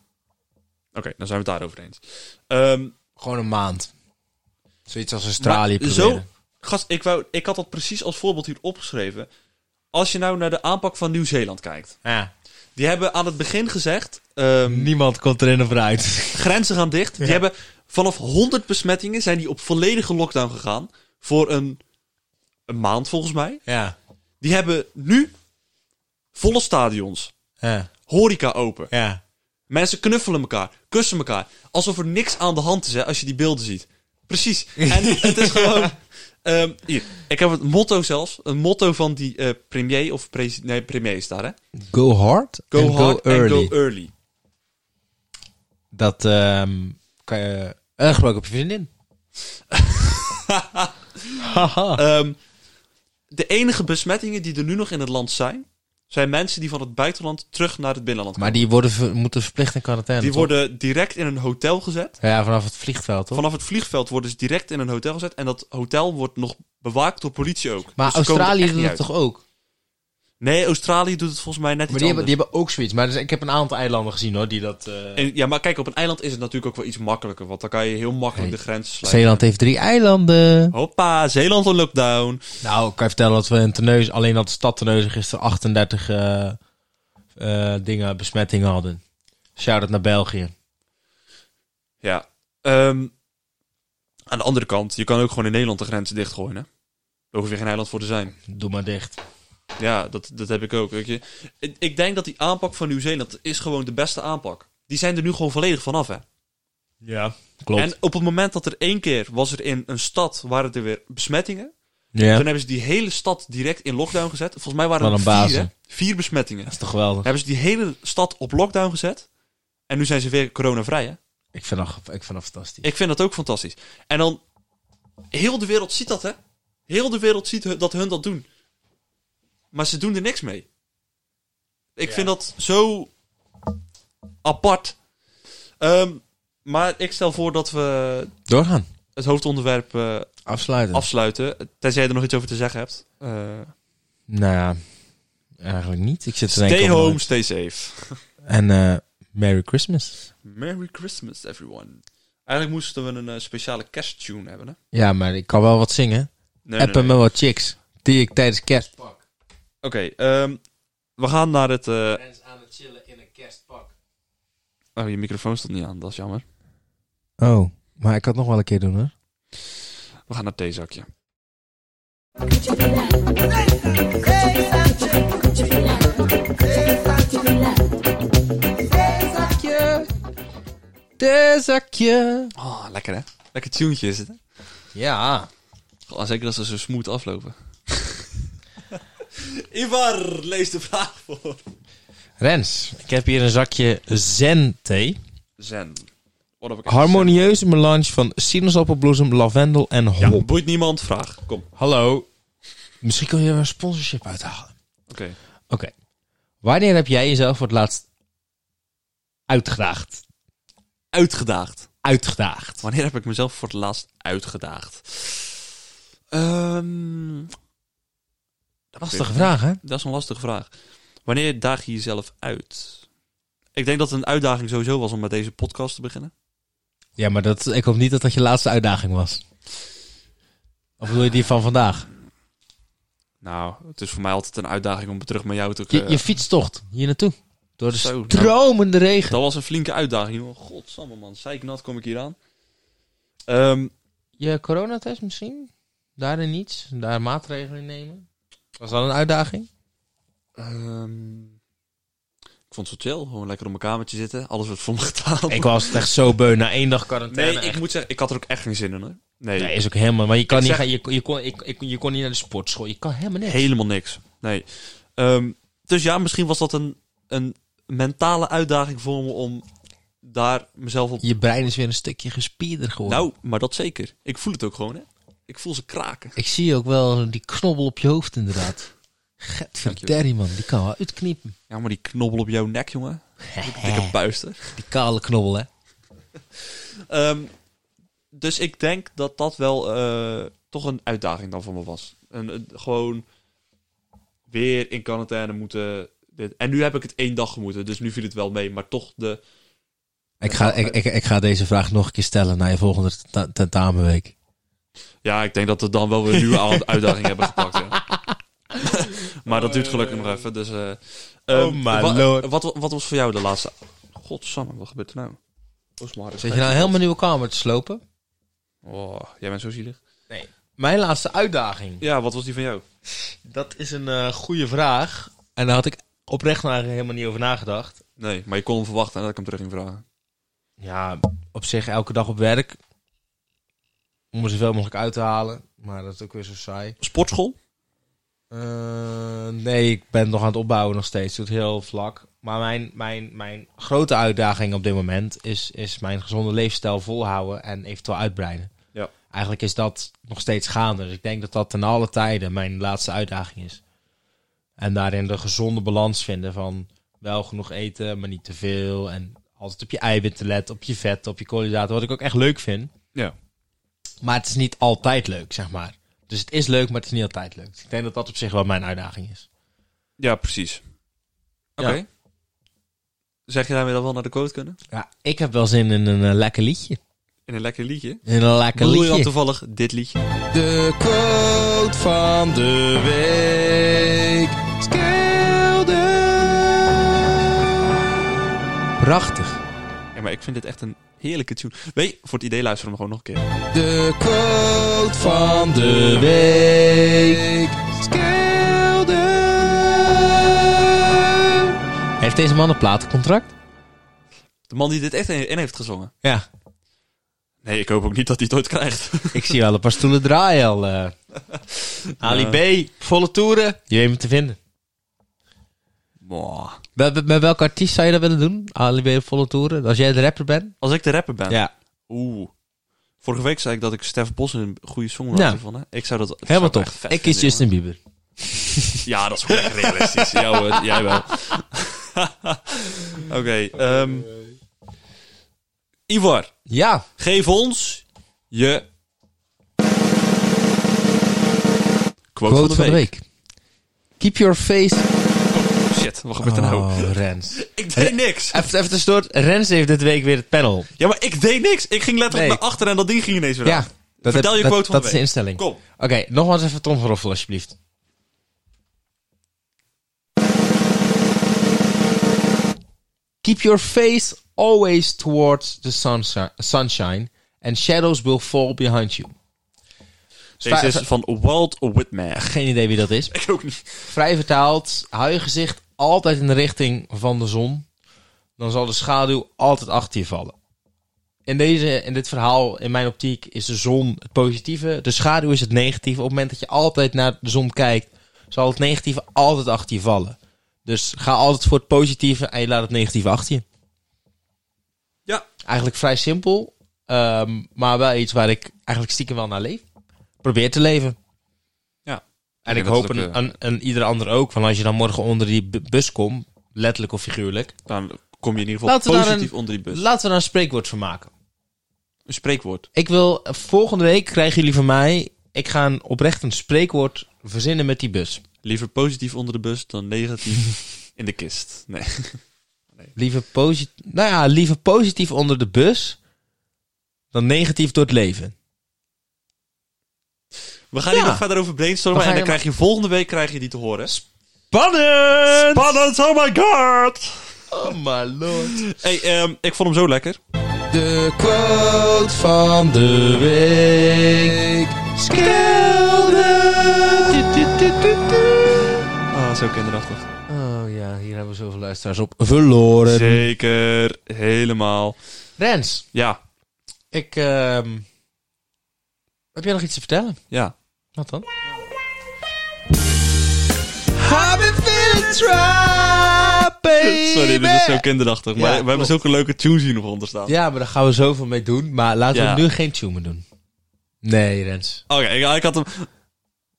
Oké, dan zijn we het daarover eens. Ehm, gewoon een maand. Zoiets als Australië maar proberen. zo, gast, ik, wou, ik had dat precies als voorbeeld hier opgeschreven. Als je nou naar de aanpak van Nieuw-Zeeland kijkt. Ja. Die hebben aan het begin gezegd, ehm, Niemand komt erin of uit. grenzen gaan dicht. Hmm. Die Ja. hebben vanaf 100 besmettingen zijn die op volledige lockdown gegaan. Voor een, een maand volgens mij. ja. Die hebben nu volle stadions. Ja. Horeca open. Ja. Mensen knuffelen elkaar, kussen elkaar. Alsof er niks aan de hand is, hè, als je die beelden ziet. Precies. En het is gewoon... ehm, hier, ik heb het motto zelfs. Een motto van die eh, premier of presi- Nee, premier is daar, hè? Go hard Go and hard go early. and go early. Dat ehm kan je... eh, gebruik op je vriendin. Haha. Ehm, de enige besmettingen die er nu nog in het land zijn... zijn mensen die van het buitenland terug naar het binnenland komen. maar die worden ver- moeten verplicht in quarantaine, Die toch? worden direct in een hotel gezet. Ja, vanaf het vliegveld, toch? Vanaf het vliegveld worden ze direct in een hotel gezet. En dat hotel wordt nog bewaakt door politie ook. Maar Dus ze komen er Australië echt doet niet het uit. toch ook? Nee, Australië doet het volgens mij net Maar iets die hebben, anders. die hebben ook zoiets. Maar dus, ik heb een aantal eilanden gezien hoor, die dat... eh, En, ja, maar kijk, op een eiland is het natuurlijk ook wel iets makkelijker. Want dan kan je heel makkelijk Hey, de grenzen sluiten. Zeeland heeft drie eilanden. Hoppa, Zeeland een lockdown. Nou, ik kan je vertellen dat we in Terneuzen, alleen dat de stad Terneuzen gisteren 38 eh, eh, dingen, besmettingen hadden. Shout-out naar België. Ja. Ehm, aan de andere kant, je kan ook gewoon in Nederland de grenzen dichtgooien, hè? Daar hoef je geen eiland voor te zijn. Doe maar dicht. Ja, dat, dat heb ik ook, weet je. Ik, ik denk dat die aanpak van Nieuw-Zeeland is gewoon de beste aanpak. Die zijn er nu gewoon volledig vanaf, hè? Ja, klopt. En op het moment dat er één keer was er in een stad, waren er weer besmettingen. ja, Toen dat hebben ze die hele stad direct in lockdown gezet. Volgens mij waren Wat er een vier, bazen. hè? vier besmettingen. is toch geweldig. Dan hebben ze die hele stad op lockdown gezet. En nu zijn ze weer coronavrij, hè? Ik vind dat, ik vind dat fantastisch. Ik vind dat ook fantastisch. En dan... Heel de wereld ziet dat, hè? Heel de wereld ziet hu- dat hun dat doen. Maar ze doen er niks mee. Ik Ja. vind dat zo... apart. Ehm, maar ik stel voor dat we Doorgaan. het hoofdonderwerp eh, Afsluiten. afsluiten. Tenzij je er nog iets over te zeggen hebt. Eh, nou ja, eigenlijk niet. Ik zit te denken stay of- home, stay safe. En eh, Merry Christmas. Merry Christmas, everyone. Eigenlijk moesten we een eh, speciale kersttune hebben, hè? Ja, maar ik kan wel wat zingen. Nee, Appen me wat chicks. Die ik tijdens kerstpak. Oké, ehm, we gaan naar het... eh, Mensen aan het chillen in een kerstpak. Oh, je microfoon stond niet aan, dat is jammer. Oh, maar ik kan het nog wel een keer doen hoor. We gaan naar het theezakje. Theezakje. Oh, lekker hè? Lekker tunetje is het, hè? Ja. Goh, zeker dat ze zo smooth aflopen. Ivar, lees de vraag voor. Rens, ik heb hier een zakje zen-thee. Zen. What heb ik Harmonieuze melange van sinaasappelbloesem, lavendel en Ja, hop. boeit niemand. Vraag. Kom. Oké. Hallo. Misschien kun je er een sponsorship uithalen. Oké. Wanneer heb jij jezelf voor het laatst uitgedaagd? Uitgedaagd. Uitgedaagd. Wanneer heb ik mezelf voor het laatst uitgedaagd? Ehm, dat Lastige weet ik vraag, hè? niet. Dat is een lastige vraag. Wanneer daag je jezelf uit? Ik denk dat het een uitdaging sowieso was om met deze podcast te beginnen. Ja, maar dat, ik hoop niet dat dat je laatste uitdaging was. Of bedoel je die van vandaag? Nou, het is voor mij altijd een uitdaging om terug met jou te Je, je fietstocht hier naartoe. Door de Eh. Zo, nou. stromende regen. Dat was een flinke uitdaging. hoor. Godsamme man, zeiknat kom ik hier aan. Ehm, Je coronatest misschien? Daarin niets? Daar maatregelen in nemen? Was dat een uitdaging? ehm, ik vond het zo chill. Gewoon lekker op mijn kamertje zitten. Alles werd voor me gedaan. Ik was het echt zo beu na één dag quarantaine. nee, ik moet zeggen, ik had er ook echt geen zin in. Hoor. Nee, Nee, is ook helemaal... Maar je kan, Ik niet, zeg- gaan, je, je, kon, ik, ik, je kon niet naar de sportschool. Je kan helemaal niks. helemaal niks. Nee. Ehm, dus ja, misschien was dat een, een mentale uitdaging voor me om daar mezelf op... Je brein is weer een stukje gespierder geworden. Nou, maar dat zeker. Ik voel het ook gewoon, hè. Ik voel ze kraken. Ik zie ook wel die knobbel op je hoofd inderdaad. Getverderrie man, die kan wel uitkniepen. Ja, maar die knobbel op jouw nek, jongen. Eh. Dikke puister. Die kale knobbel hè. Ehm, dus ik denk dat dat wel eh, toch een uitdaging dan voor me was. Een, een- gewoon weer in quarantaine moeten. Dit. En nu heb ik het één dag gemoeten, dus nu viel het wel mee. Maar toch de... Ik ga, ik, ik, ik ga deze vraag nog een keer stellen na je volgende tenta- tentamenweek. Ja, ik denk dat we dan wel weer een nieuwe aan- uitdaging hebben gepakt. ja. maar dat duurt gelukkig nog even. Dus, eh, ehm, Oh my wa- lord. Wat, wat was voor jou de laatste... Godsamme, wat gebeurt er nou? Oh, is mijn harde Zit je nou een helemaal nieuwe kamer te slopen? Oh, jij bent zo zielig. Mijn laatste uitdaging. Ja, wat was die van jou? Dat is een eh, goede vraag. En daar had ik oprecht maar helemaal niet over nagedacht. Nee, maar je kon hem verwachten dat ik hem terug ging vragen. Ja, op zich elke dag op werk. Om er zoveel mogelijk uit te halen. Maar dat is ook weer zo saai. Sportschool? Eh, nee, ik ben nog aan het opbouwen nog steeds. Het doet heel vlak. Maar mijn, mijn, mijn grote uitdaging op dit moment is, is mijn gezonde leefstijl volhouden en eventueel uitbreiden. Ja. Eigenlijk is dat nog steeds gaande. Dus ik denk dat dat ten alle tijden mijn laatste uitdaging is. En daarin de gezonde balans vinden van wel genoeg eten, maar niet te veel. En altijd op je eiwitten letten, op je vet, op je koolhydraten. Wat ik ook echt leuk vind. Ja. Maar het is niet altijd leuk, zeg maar. Dus het is leuk, maar het is niet altijd leuk. Dus ik denk dat dat op zich wel mijn uitdaging is. Ja, precies. Oké. Ja. Zeg je daarmee dat we wel naar de quote kunnen? Ja, ik heb wel zin in een eh, lekker liedje. In een lekker liedje? In een lekker Bedoel je dan liedje. toevallig dit liedje? De quote van de week. Prachtig. Ja, maar ik vind dit echt een heerlijke tune. Weet je, voor het idee luisteren we hem gewoon nog een keer. De quote van de week. Heeft deze man een platencontract? De man die dit echt in in heeft gezongen. Ja. Nee, ik hoop ook niet dat hij het ooit krijgt. Ik zie wel een paar stoelen draaien al. eh. Ali B, volle toeren. Je weet me te vinden. Mwah. Met, met- met welke artiest zou je dat willen doen? Ali B, volle toeren. Als jij de rapper bent? Als ik de rapper ben. Ja. Oeh. Vorige week zei ik dat ik Stef Bos een goede songwriter Ja. vond. Hè? Ik zou dat dat Helemaal zou echt tof. vet Ik kies vinden, Justin Bieber. jongen. Ja, dat is gewoon echt realistisch. ja hoor, jij wel. Oké. ehm, Ivar. Ja. Geef ons je quote, Quote van de week. Keep your face... Oh, shit. shit, wat gebeurt er nou? Oh, Rens. Ik deed niks. Even, even tussendoor, Rens heeft dit week weer het panel. Ja, maar ik deed niks. Ik ging letterlijk Nee. naar achter en dat ding ging ineens weer Ja, aan. dat, Vertel heb- je dat- quote van dat is de de week. instelling. Kom. Oké, nogmaals even Tom van Roffel, alsjeblieft. Keep your face always towards the sunsi- sunshine and shadows will fall behind you. Deze Vrij- is van Walt Whitman. Geen idee wie dat is. Ik ook niet. Vrij vertaald, hou je gezicht altijd in de richting van de zon. Dan zal de schaduw altijd achter je vallen. In, deze, in dit verhaal, in mijn optiek, is de zon het positieve. De schaduw is het negatieve. Op het moment dat je altijd naar de zon kijkt, zal het negatieve altijd achter je vallen. Dus ga altijd voor het positieve en je laat het negatieve achter je. Ja. Eigenlijk vrij simpel, ehm, maar wel iets waar ik eigenlijk stiekem wel naar leef. Probeer te leven. Ja. En Ja, ik dat hoop is een, ook, eh, een, een ieder ander ook. Want als je dan morgen onder die bu- bus komt, letterlijk of figuurlijk. Dan kom je in ieder geval Laten we daar positief een- onder die bus. Laten we daar een spreekwoord van maken. Een spreekwoord. Ik wil, eh, volgende week krijgen jullie van mij, ik ga een, oprecht een spreekwoord verzinnen met die bus. Liever positief onder de bus dan negatief in de kist. Nee. Liever positief, nou ja, liever positief onder de bus, dan negatief door het leven. We gaan Ja. hier nog verder over brainstormen. We gaan en dan hier- krijg je volgende week krijg je die te horen. Spannend! Spannend, oh my god! Oh my lord. Hey, ehm, ik vond hem zo lekker. De quote van de week. Skelden. Ah, zo kinderachtig. Oh ja, hier hebben we zoveel luisteraars op verloren. Zeker, helemaal. Rens, Ja, ik. ehm, heb jij nog iets te vertellen? ja. Wat dan? I've been feeling trapped, baby. Sorry, dit is zo kinderachtig. Maar Ja, we hebben klopt. zulke leuke tunes hier nog onder staan. Ja, maar daar gaan we zoveel mee doen. Maar laten Ja. we nu geen tune meer doen. Nee, Rens. Oké, ik, ik had hem...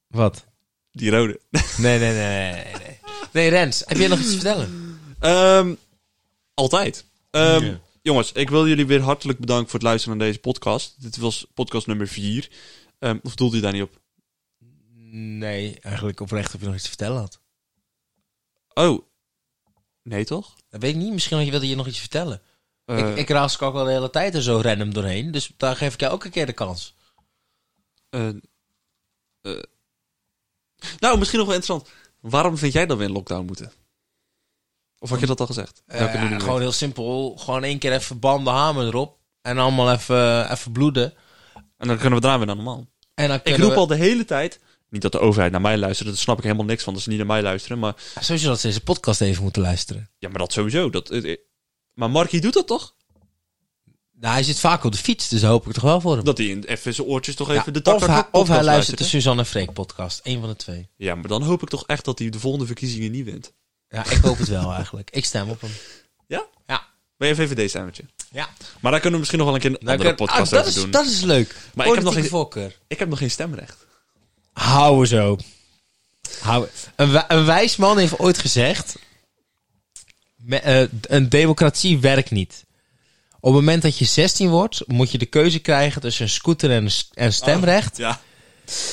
Wat? Die rode. Nee, nee, nee, nee, nee. Nee, Rens, heb jij nog iets te vertellen? Ehm, altijd. Ehm, Ja. Jongens, ik wil jullie weer hartelijk bedanken voor het luisteren naar deze podcast. Dit was podcast nummer 4. of doelt u daar niet op? Nee, eigenlijk oprecht of je nog iets te vertellen had. Oh. Nee, toch? Dat weet ik niet. Misschien had je wilde je nog iets vertellen. Eh, ik, ik raas ook al de hele tijd er zo random doorheen. Dus daar geef ik jou ook een keer de kans. eh, eh. Nou, misschien nog wel interessant. Waarom vind jij dat we in lockdown moeten? Of had je dat al gezegd? Eh, Dat heb ik nog niet gewoon heel simpel. Gewoon één keer even banden hamer erop. En allemaal even, even bloeden. En dan kunnen we daarna weer naar normaal. En dan Ik kunnen roep we- al de hele tijd. Niet dat de overheid naar mij luistert, daar snap ik helemaal niks van. Dat ze niet naar mij luisteren. Maar Sowieso dat ze deze podcast even moeten luisteren. ja, maar dat sowieso. Dat, eh, eh. maar Markie doet dat toch? Nou, hij zit vaak op de fiets, dus daar hoop ik toch wel voor hem. Dat hij in- even zijn oortjes toch Ja, even de of, tak hij, of hij luistert de Suzanne en Freek podcast. Eén van de twee. Ja, maar dan hoop ik toch echt dat hij de volgende verkiezingen niet wint. Ja, ik hoop het wel eigenlijk. Ik stem op hem. Ja? Ja. Ben je VVD stemmertje? Ja. Ah, Maar daar kunnen we misschien nog wel een keer een andere podcast dat, over is, doen. dat is leuk. Maar ik heb nog geen geen- voorkeur. Ik heb nog geen stemrecht. Hou eens op. Hou. Een, wij- een wijs man heeft ooit gezegd: me- eh, een democratie werkt niet. Op het moment dat je 16 wordt, moet je de keuze krijgen tussen een scooter en een s- en stemrecht. Ja. Oh.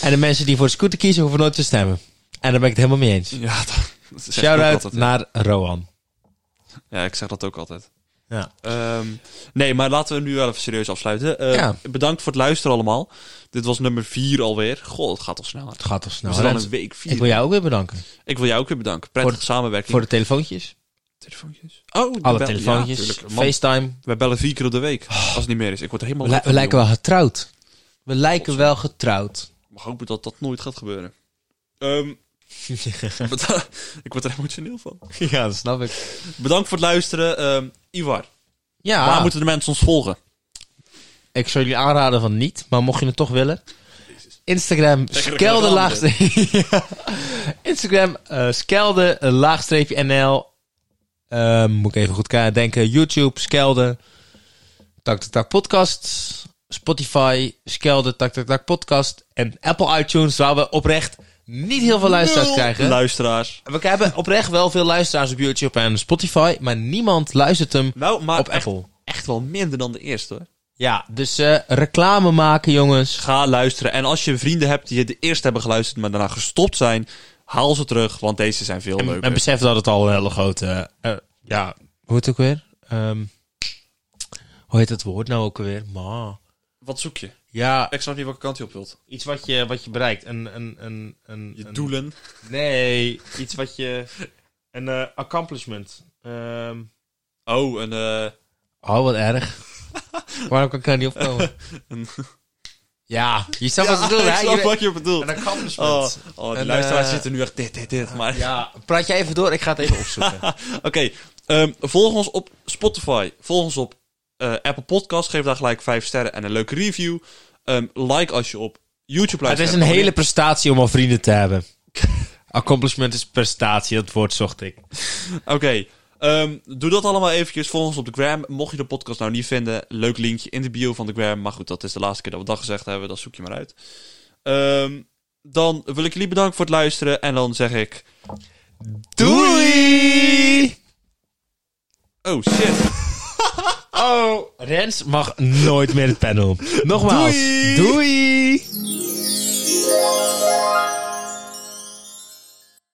En de mensen die voor de scooter kiezen, hoeven nooit te stemmen. En daar ben ik het helemaal mee eens. Ja, dat, dat zeg ik ook Shout-out altijd, ja. naar Roan. Ja, ik zeg dat ook altijd. Ja. Ehm, nee, maar laten we nu wel even serieus afsluiten. Eh, Ja. Bedankt voor het luisteren allemaal. Dit was nummer 4 alweer. Goh, het gaat toch snel. Het gaat toch We snel. zijn al Nou, Rens, een week vier. ik wil jou ook weer bedanken. jou ook weer bedanken. Prettige samenwerking. Voor de telefoontjes. telefoontjes. Oh, de Alle bel- telefoontjes. Ja, tuurlijk. Man, FaceTime. wij bellen vier keer op de week. Als het niet meer is. Ik word er helemaal We, gek we van, lijken jongen. wel getrouwd. We lijken wel getrouwd. Ik mag hopen dat dat nooit gaat gebeuren. Ehm, beda- ik word er emotioneel van. ja, dat snap ik. Bedankt voor het luisteren. Ehm, Ivar, Ja. waar moeten de mensen ons volgen? Ik zou jullie aanraden van niet, maar mocht je het toch willen. Instagram skelde laagstreepje. Instagram eh, skelde eh, laagstreepje NL. Ehm, moet ik even goed ka- denken. YouTube skelde. Tak tak tak podcast. Spotify skelde tak tak tak podcast. En Apple iTunes waar we oprecht niet heel veel luisteraars Nul krijgen. Luisteraars. we hebben oprecht wel veel luisteraars op YouTube en Spotify, maar niemand luistert hem Nou, maar op echt, Apple. echt wel minder dan de eerste hoor. Ja, dus eh, reclame maken jongens. Ga luisteren. En als je vrienden hebt die de eerst hebben geluisterd, maar daarna gestopt zijn, Haal ze terug, want deze zijn veel En, leuker. en besef dat het al een hele grote... eh, ja, hoe heet het ook weer? Ehm, hoe heet dat woord nou ook weer? Ma. Wat zoek je? Ja, Ik snap niet welke kant je op wilt. iets wat je, wat je bereikt. Een, een, een, een, Je een- doelen. Nee, iets wat je... Een eh, accomplishment. Ehm, Oh, een, eh, Oh, wat erg. Waarom kan ik daar niet op komen? Een- ja, je snapt wat Ja, ik bedoel, ik hè? snap Je- wat je bedoelt. Een Oh, accomplishment. oh, die En, luisteraars eh, zitten nu echt dit, dit, dit. Maar Ja, praat jij even door. Ik ga het even opzoeken. Oké, ehm, volg ons op Spotify. Volg ons op eh, Apple Podcast. Geef daar gelijk 5 sterren en een leuke review. Ehm, like als je op YouTube Ah, het luistert. is een hele prestatie om al vrienden te hebben. Accomplishment is prestatie, dat woord zocht ik. Oké, ehm, doe dat allemaal eventjes. Volg ons op de gram. Mocht je de podcast nou niet vinden, leuk linkje in de bio van de gram. Maar goed, dat is de laatste keer dat we dat gezegd hebben. Dat zoek je maar uit. Ehm, dan wil ik jullie bedanken voor het luisteren. En dan zeg ik... Doei! Oh, shit. Oh, Rens mag nooit meer het panel. Nogmaals, Doei! doei!